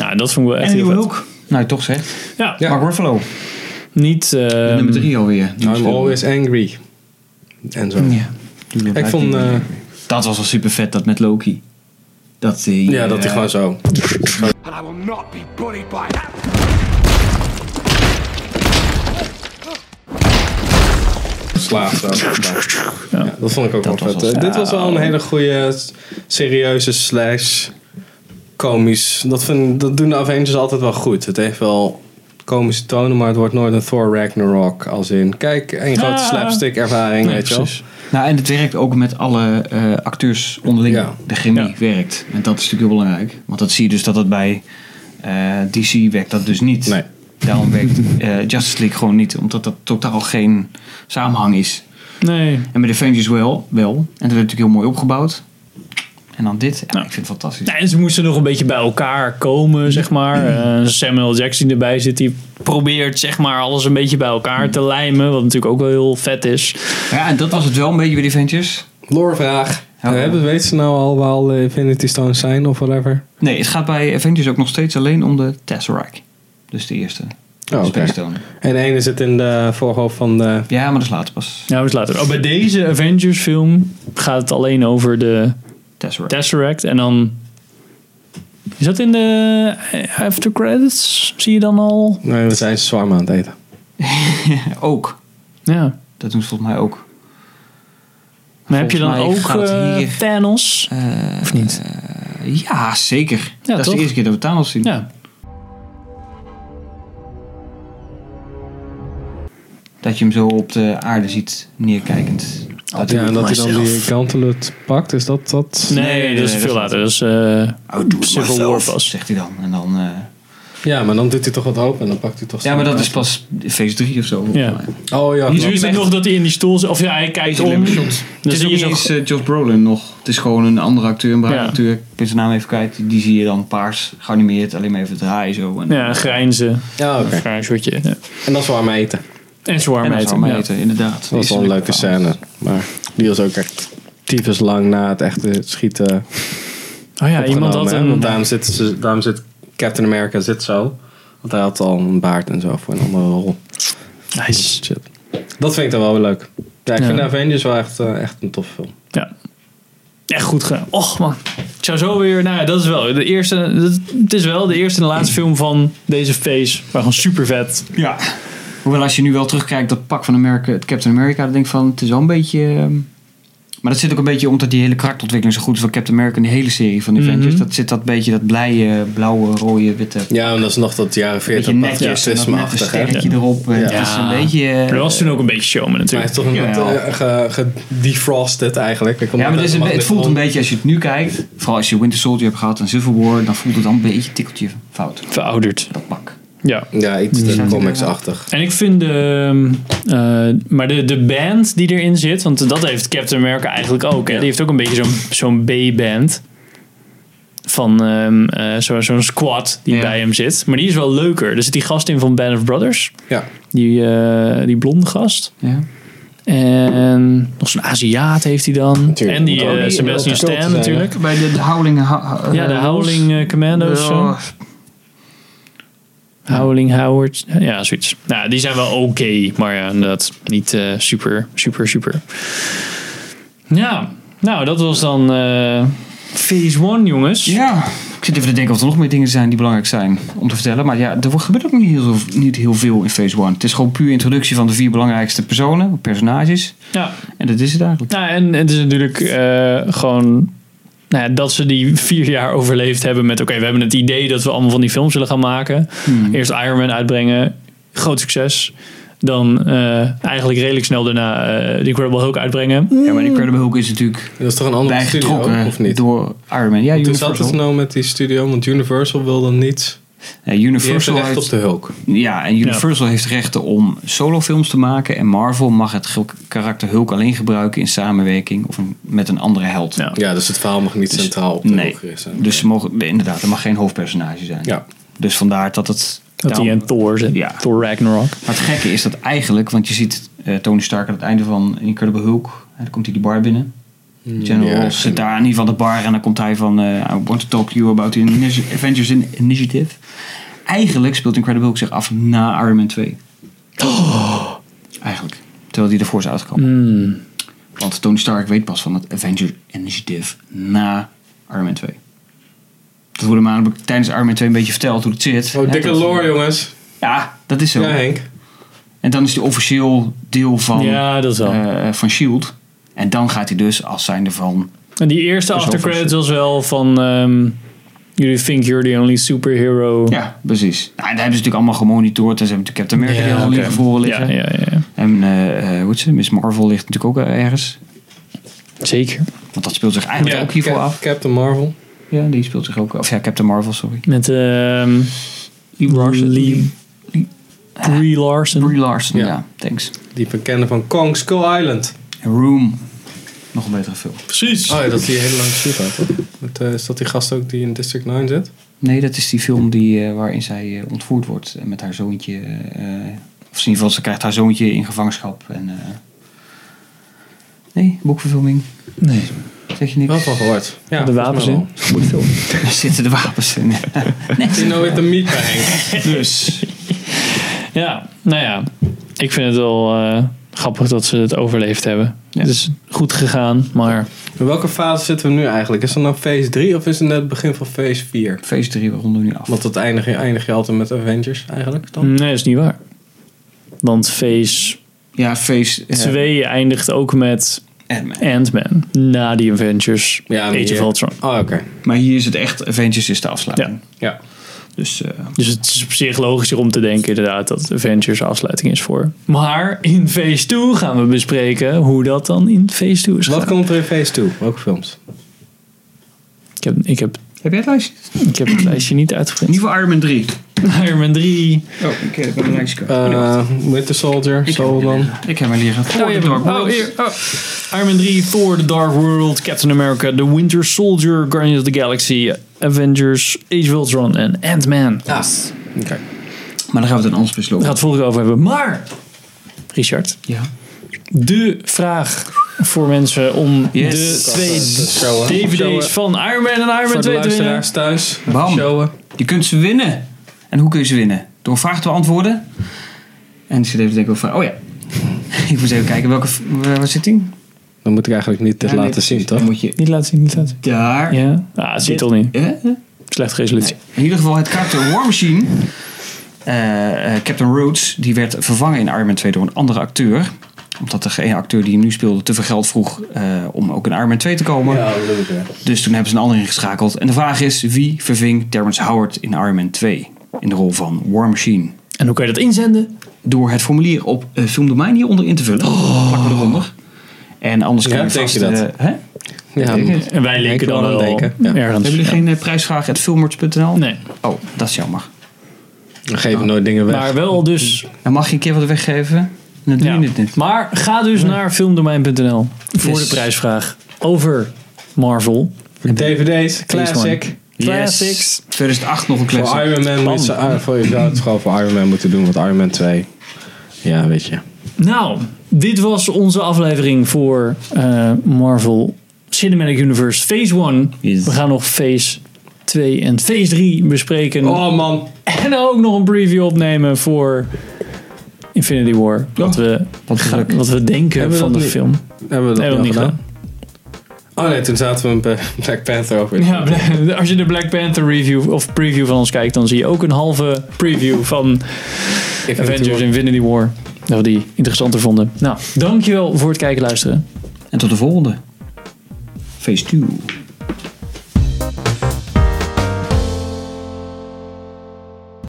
S1: Nou, dat vond ik wel echt
S3: En
S1: heel
S3: nieuwe
S1: vet.
S3: Hulk. Nou, toch zeg.
S1: Ja,
S3: Mark Ruffalo.
S1: niet... eh,
S3: nummer drie alweer.
S2: I'm always angry. En zo.
S3: Ja.
S2: Ik vond eh,
S3: Dat was wel super vet, dat met Loki. Dat die,
S2: ja, dat hij
S3: eh,
S2: gewoon zo.
S7: And I will not be bullied by that.
S2: Slaaf zo. Ja. dat vond ik ook
S3: Dat
S2: wel vet.
S3: was
S2: Eh,
S3: wel-
S2: Dit was wel een hele goede, s- serieuze slash komisch. Dat, vind, dat doen de Avengers altijd wel goed. Het heeft wel komische tonen, maar het wordt nooit een Thor Ragnarok. Als in, kijk, een grote
S1: Ah.
S2: slapstick ervaring,
S1: Nee,
S2: weet je wel.
S1: precies.
S3: Nou, en het werkt ook met alle eh, acteurs onderling.
S2: Ja.
S3: De chemie
S1: Ja.
S3: werkt. En dat is natuurlijk heel belangrijk. Want dat zie je dus dat het bij eh, DC werkt dat dus niet.
S2: Nee.
S3: Daarom werkt eh, Justice League gewoon niet. Omdat dat totaal geen samenhang is.
S1: Nee,
S3: En bij de Avengers wel. wel. En dat werd natuurlijk heel mooi opgebouwd. En dan dit. Ja,
S1: Nou.
S3: Ik vind het fantastisch.
S1: Nou, en ze moesten nog een beetje bij elkaar komen, zeg maar.
S3: Mm.
S1: Eh, Samuel L. Jackson erbij zit, die probeert zeg maar alles een beetje bij elkaar
S3: Mm.
S1: te lijmen. Wat natuurlijk ook wel heel vet is.
S3: Ja, en dat was het wel een beetje bij de Avengers.
S2: Lorevraag.
S3: Ja.
S2: Eh, Hebben weet ze nou al waar al de Infinity Stones zijn of whatever?
S3: Nee, het gaat bij Avengers ook nog steeds alleen om de Tesseract. Dus de eerste.
S2: Oh, oké.
S3: Space Stone.
S2: En de ene zit in de voorhoofd van de...
S3: Ja, maar dat is later pas.
S1: Nou, we later. Oh, bij deze Avengers film gaat het alleen over de
S3: Tesseract.
S1: Tesseract. En dan... Is dat in de after eh, credits? Zie je dan al?
S2: Nee, we zijn zwaar aan het eten.
S3: ook.
S1: Ja.
S3: Dat doen ze volgens mij ook.
S1: Maar heb je dan
S3: Volgens
S1: ook
S3: mij gaat het
S1: eh,
S3: hier- eh,
S1: Thanos? of niet?
S3: Ja, zeker. dat is
S1: toch?
S3: de eerste keer dat we Thanos zien.
S1: ja.
S3: Dat je hem zo op de aarde ziet neerkijkend.
S1: I'll do
S2: Ja, en
S1: it
S2: dat hij dan die
S1: myself.
S2: gantelet pakt, is dat dat?
S1: Nee,
S3: Nee, nee,
S1: dat is
S3: nee,
S1: veel
S3: dat
S1: later. Dat is eh,
S3: Oh, doe
S1: Civil War pas.
S3: Zegt hij dan. En dan eh,
S2: Ja, maar dan doet hij toch wat open en dan pakt hij toch
S3: ja, maar dat is pas phase 3 of zo. volgens
S1: Ja.
S3: mij.
S2: Oh ja,
S1: Nu
S2: klopt.
S1: is het
S3: echt-
S1: nog dat hij in die stoel zit. Of ja, hij kijkt om.
S3: alleen maar
S1: Dan
S3: shots. Het is
S1: zie
S3: ook
S1: je
S3: niet
S1: zo'n
S3: eens eh, Josh Brolin nog. Het is gewoon een andere acteur, een bruine
S1: Ja.
S3: acteur. Ik ben zijn naam even kwijt. Die zie je dan paars, geanimeerd, alleen maar even draaien zo. En,
S1: ja, grijnzen.
S2: Ja, Ah, oké.
S1: Een grijnshotje. Ja.
S2: En dat is warm eten.
S1: En zwaar
S3: en dan zou
S1: meten.
S3: hij
S1: Ja.
S3: eten, inderdaad.
S2: Dat was wel een leuke scène. Maar die was ook echt tyfus lang na het echte schieten
S1: Oh ja, iemand had
S2: opgenomen, hè? Want
S1: een...
S2: daarom zit, ze- daarom zit Captain America zit zo. Want hij had al een baard en zo voor een andere rol.
S1: Nice.
S2: Shit. Dat vind ik dan wel weer leuk. Ja, ik
S1: Ja.
S2: vind Avengers wel echt, eh, echt een tof film.
S1: Ja. Echt goed gedaan. Och man. Ik zou zo weer... Nou ja, dat is wel de eerste... dat- het is wel de eerste en de laatste film van deze face. Maar gewoon super vet.
S3: Ja. Hoewel als je nu wel terugkijkt, dat pak van Amerika, het Captain America, dan denk ik van, het is wel een beetje... ehm, maar dat zit ook een beetje omdat die hele karakterontwikkeling zo goed is van Captain America en die hele serie van Avengers. Dat zit dat beetje, dat blije, blauwe, rode, witte...
S2: Ja, en dat is nog dat jaren
S3: beetje
S2: 40
S3: netjes en dan met een
S2: patriotisme-achtig. hè?
S3: sterretje erop. En
S2: Ja.
S3: Het is een beetje... eh,
S1: Maar dat was toen ook een beetje showman
S2: Maar hij
S1: natuurlijk.
S2: is toch
S3: Ja,
S2: net
S3: ja.
S2: eh, ge- gedefrosted eigenlijk. Ik kom
S3: Ja, maar
S2: net
S3: het, is
S2: uit
S3: een
S2: de
S3: be- het voelt een
S2: magnetron.
S3: beetje als je het nu kijkt. Vooral als je Winter Soldier hebt gehad en Civil War, dan voelt het dan een beetje tikkeltje fout.
S1: Verouderd.
S3: Dat pak.
S1: Ja.
S2: Ja, iets
S3: Ja.
S2: eh, comics-achtig.
S1: En ik vind de, eh, maar de, de band die erin zit, want dat heeft Captain America eigenlijk ook. Hè? Die heeft ook een beetje zo'n zo'n B-band. Van ehm, eh, zo- zo'n squad die
S3: Ja.
S1: bij hem zit. Maar die is wel leuker. Er zit die gast in van Band of Brothers.
S2: Ja.
S1: Die, eh, die blonde gast.
S3: Ja.
S1: En nog zo'n Aziat heeft hij dan.
S2: Natuurlijk.
S1: En die
S2: Oh,
S1: eh,
S2: die-
S1: Sebastian
S2: die- die-
S1: Stan
S2: die-
S1: natuurlijk.
S3: Bij de, de Howling... Ha- ha-
S1: Ja, de
S3: eh,
S1: Howling eh, Commando's.
S3: Ja.
S1: zo. Howling Howard. Ja, zoiets. Nou, die zijn wel oké, maar ja, inderdaad niet eh, super, super, super. Ja, nou, dat was dan eh, Phase 1, jongens.
S3: Ja, ik zit even te denken of er nog meer dingen zijn die belangrijk zijn om te vertellen. Maar ja, er wordt- gebeurt ook niet heel, niet heel veel in Phase 1. Het is gewoon puur introductie van de vier belangrijkste personen, personages.
S1: Ja.
S3: En dat is het eigenlijk.
S1: Nou, en het is natuurlijk eh, gewoon nou ja, dat ze die vier jaar overleefd hebben met... Oké, we hebben het idee dat we allemaal van die films willen gaan maken.
S3: Hmm.
S1: Eerst Iron Man uitbrengen. Groot succes. Dan eh, eigenlijk redelijk snel daarna eh The Incredible Hulk uitbrengen.
S3: Ja, maar Incredible Hulk is natuurlijk
S2: Dat is toch een andere studio,
S3: bijgetrokken
S2: of niet?
S3: door Iron Man. Ja,
S2: Toen zat het
S3: Universal.
S2: nou met die studio, want Universal wil dan niet. Die
S3: Ja,
S2: heeft
S3: Universal
S2: recht
S3: heeft-
S2: op de Hulk.
S3: Ja, en Universal heeft rechten om solofilms te maken. En Marvel mag het ge- karakter Hulk alleen gebruiken in samenwerking of een- met een andere held.
S1: Ja.
S2: Ja, dus het verhaal mag niet centraal op de
S3: nee,
S2: Hulk zijn.
S3: dus ze mogen, inderdaad, er mag geen hoofdpersonage zijn.
S2: Ja.
S3: Dus vandaar dat het...
S1: Dat hij
S3: daarom-
S1: en Thor zit.
S3: Ja.
S1: Thor Ragnarok.
S3: Maar het gekke is dat eigenlijk, want je ziet eh, Tony Stark aan het einde van Incredible Hulk. Hè, dan komt hij die bar binnen.
S2: Hmm.
S3: General
S2: ja,
S3: Ross zit daar in ieder geval de bar en dan komt hij van eh, I want to talk to you about the initi- Avengers in- Initiative. Eigenlijk speelt Incredible Hulk zich af na Iron Man 2.
S2: Oh.
S3: Eigenlijk. Terwijl die ervoor is uitgekomen.
S2: Hmm.
S3: Want Tony Stark weet pas van het Avengers Initiative na Iron Man 2. Dat wordt hem aan, tijdens Iron Man 2 een beetje verteld hoe het zit.
S2: Oh,
S3: Hè,
S2: dikke
S3: dat-
S2: lore, jongens.
S3: Ja, dat is zo.
S2: Ja, Henk.
S3: En dan is hij officieel deel van,
S1: Ja, dat wel.
S3: eh, van S.H.I.E.L.D. En dan gaat hij dus als zijnde van...
S1: En die eerste
S3: Dus
S1: aftercredits
S3: overzicht.
S1: was wel van... ehm, jullie think you're the only superhero.
S3: Ja, precies. Nou, en daar hebben ze natuurlijk allemaal gemonitord. En ze hebben natuurlijk Captain America die al
S1: oké.
S3: liggen voor liggen.
S1: Ja, ja, ja.
S3: En eh eh, hoe heet ze? Miss Marvel ligt natuurlijk ook eh, ergens.
S1: Zeker.
S3: Want dat speelt zich eigenlijk ook hiervoor
S2: Cap-
S3: af.
S2: Captain Marvel.
S3: Ja, die speelt zich ook... Of ja, Captain Marvel, sorry.
S1: Met ehm
S3: Lee Larson.
S1: Lee, Brie Larson.
S3: Ah, Brie Larson,
S2: Ja.
S3: ja. Thanks.
S2: Die we kennen van Kong Skull Island.
S3: En Room. Nog een betere film.
S1: Precies.
S2: Oh ja, dat is die hele lange shootout, toch? Met, eh, is dat die gast ook die in District 9 zit?
S3: Nee, dat is die film die, eh, waarin zij eh, ontvoerd wordt. En met haar zoontje... eh, of in ieder geval, ze krijgt haar zoontje in gevangenschap. En, eh, nee, boekverfilming.
S1: Nee.
S3: Zeg je niks?
S2: Wel van gehoord. Ja,
S1: de wapens in.
S3: Daar zitten de wapens in.
S2: You know with the meat bij Henk.
S3: dus.
S1: Ja, nou ja. Ik vind het wel eh, grappig dat ze het overleefd hebben.
S3: Ja.
S1: Het is goed gegaan, maar...
S2: In welke fase zitten we nu eigenlijk? Is dat nou phase 3 of is het net het begin van phase 4?
S3: Phase 3, we ronden nu af.
S2: Want dat eindig je, eindig je altijd met Avengers eigenlijk dan?
S1: Nee, dat is niet waar. Want Phase
S3: Ja, eh, Phase
S1: 2 eindigt ook met Ant-Man. Na die Avengers.
S2: Ja,
S1: Age
S2: hier-
S1: of Ultron.
S2: Oh, oké.
S3: Maar hier is het echt, Avengers is de afsluiting.
S1: Ja.
S2: Ja.
S3: Dus eh,
S1: Dus het is op zich logischer om te denken inderdaad dat Avengers afsluiting is voor. Maar in Phase 2 gaan we bespreken hoe dat dan in Phase 2 is
S2: Wat
S1: gegaan.
S2: komt er in Phase 2? Welke films?
S1: Ik heb, ik, heb,
S3: heb jij het lijstje?
S1: ik heb het lijstje niet
S3: In
S1: uitgeprint.
S3: ieder geval Iron Man 3.
S1: Iron Man 3.
S3: Oh, ik heb mijn lijstje kwijt.
S2: Eh Winter Soldier, Solomon.
S3: Ik heb hem hier gehad.
S1: Oh, je hebt hem. Oh, hier. Oh. Iron Man 3, Thor, The Dark World, Captain America, The Winter Soldier, Guardians of the Galaxy, Avengers, Age of Ultron en Ant-Man. Daar
S2: Oké.
S3: Maar dan gaan we het in ons besloten.
S1: gaat het volgende over hebben. Maar, Richard,
S3: Ja.
S1: de vraag voor mensen om
S3: Yes.
S1: de twee
S2: Showen.
S1: DVD's
S2: Showen.
S1: van Iron Man en Iron Man
S2: Voor de
S1: 2 te winnen.
S2: luisteraars thuis.
S3: Bam.
S2: Showen.
S3: Je kunt ze winnen. En hoe kun je ze winnen? Door vragen te beantwoorden. En ik zit even te denken van, oh ja. ik moet eens even kijken welke, v- waar waar zit die?
S2: Dan moet ik eigenlijk niet dit
S3: Ja, nee,
S2: laten
S3: precies.
S2: zien, toch?
S3: Dan moet je
S1: Niet laten zien, niet laten zien.
S3: daar.
S1: Ja, ah, het ziet
S3: Dit-
S1: al niet.
S3: Eh?
S1: Slechte resolutie.
S3: In ieder geval het karakter War Machine. eh, eh, Captain Rhodes, die werd vervangen in Iron Man 2 door een andere acteur. Omdat degene acteur die hem nu speelde te veel geld vroeg eh, om ook in Iron Man 2 te komen. Dus toen hebben ze een ander ingeschakeld. En de vraag is, wie verving Terrence Howard in Iron Man 2? In de rol van War Machine.
S1: En hoe kan je dat inzenden?
S3: Door het formulier op eh, filmdomein hieronder in te vullen. Plakken we eronder. En anders kan
S2: Oh. Ja,
S3: je
S2: denk
S3: vast...
S2: je dat? Dus
S3: eh, hè?
S2: Ja,
S3: Denk het.
S1: En wij
S2: Ik
S1: linken
S2: wil
S1: dan
S2: aan
S1: wel
S2: denken. Ja.
S1: ergens.
S3: Hebben jullie geen eh, prijsvraag at filmworks.nl?
S1: Nee,
S3: Oh, dat is jammer.
S2: we geven nooit dingen weg.
S1: maar wel dus
S3: Dan mag je een keer wat weggeven. Dan doe
S1: Ja.
S3: je het niet.
S1: Maar ga dus naar filmdomein.nl voor
S3: Yes.
S1: de prijsvraag over Marvel.
S2: DVD's,
S1: Phase
S2: Classic.
S1: Classics.
S3: 2008 nog een
S2: Voor
S3: classic.
S2: Iron Man moet je, ah, voor, je zou het gewoon voor Iron Man moeten doen, want Iron Man 2. Ja, weet je.
S1: Nou, dit was onze aflevering voor eh, Marvel Cinematic Universe Phase 1.
S3: Yes.
S1: We gaan nog Phase 2 en Phase 3 bespreken.
S2: Oh man.
S1: En ook nog een preview opnemen voor Infinity War. Wat, we,
S3: Wat geluk.
S1: wat we denken
S2: Hebben we
S1: van de
S2: dat niet-
S1: film.
S2: Hebben we dat
S1: Nee,
S2: al
S1: dat niet
S2: gedaan? Oh nee, toen zaten we een Pe- Black Panther over.
S1: Ja, als je de Black Panther review of preview van ons kijkt, dan zie je ook een halve preview van
S2: Ik vind het
S1: Avengers
S2: wel-
S1: Infinity War. Dat we die interessanter vonden. Nou, dankjewel voor het kijken en luisteren.
S3: En tot de volgende. Phase 2.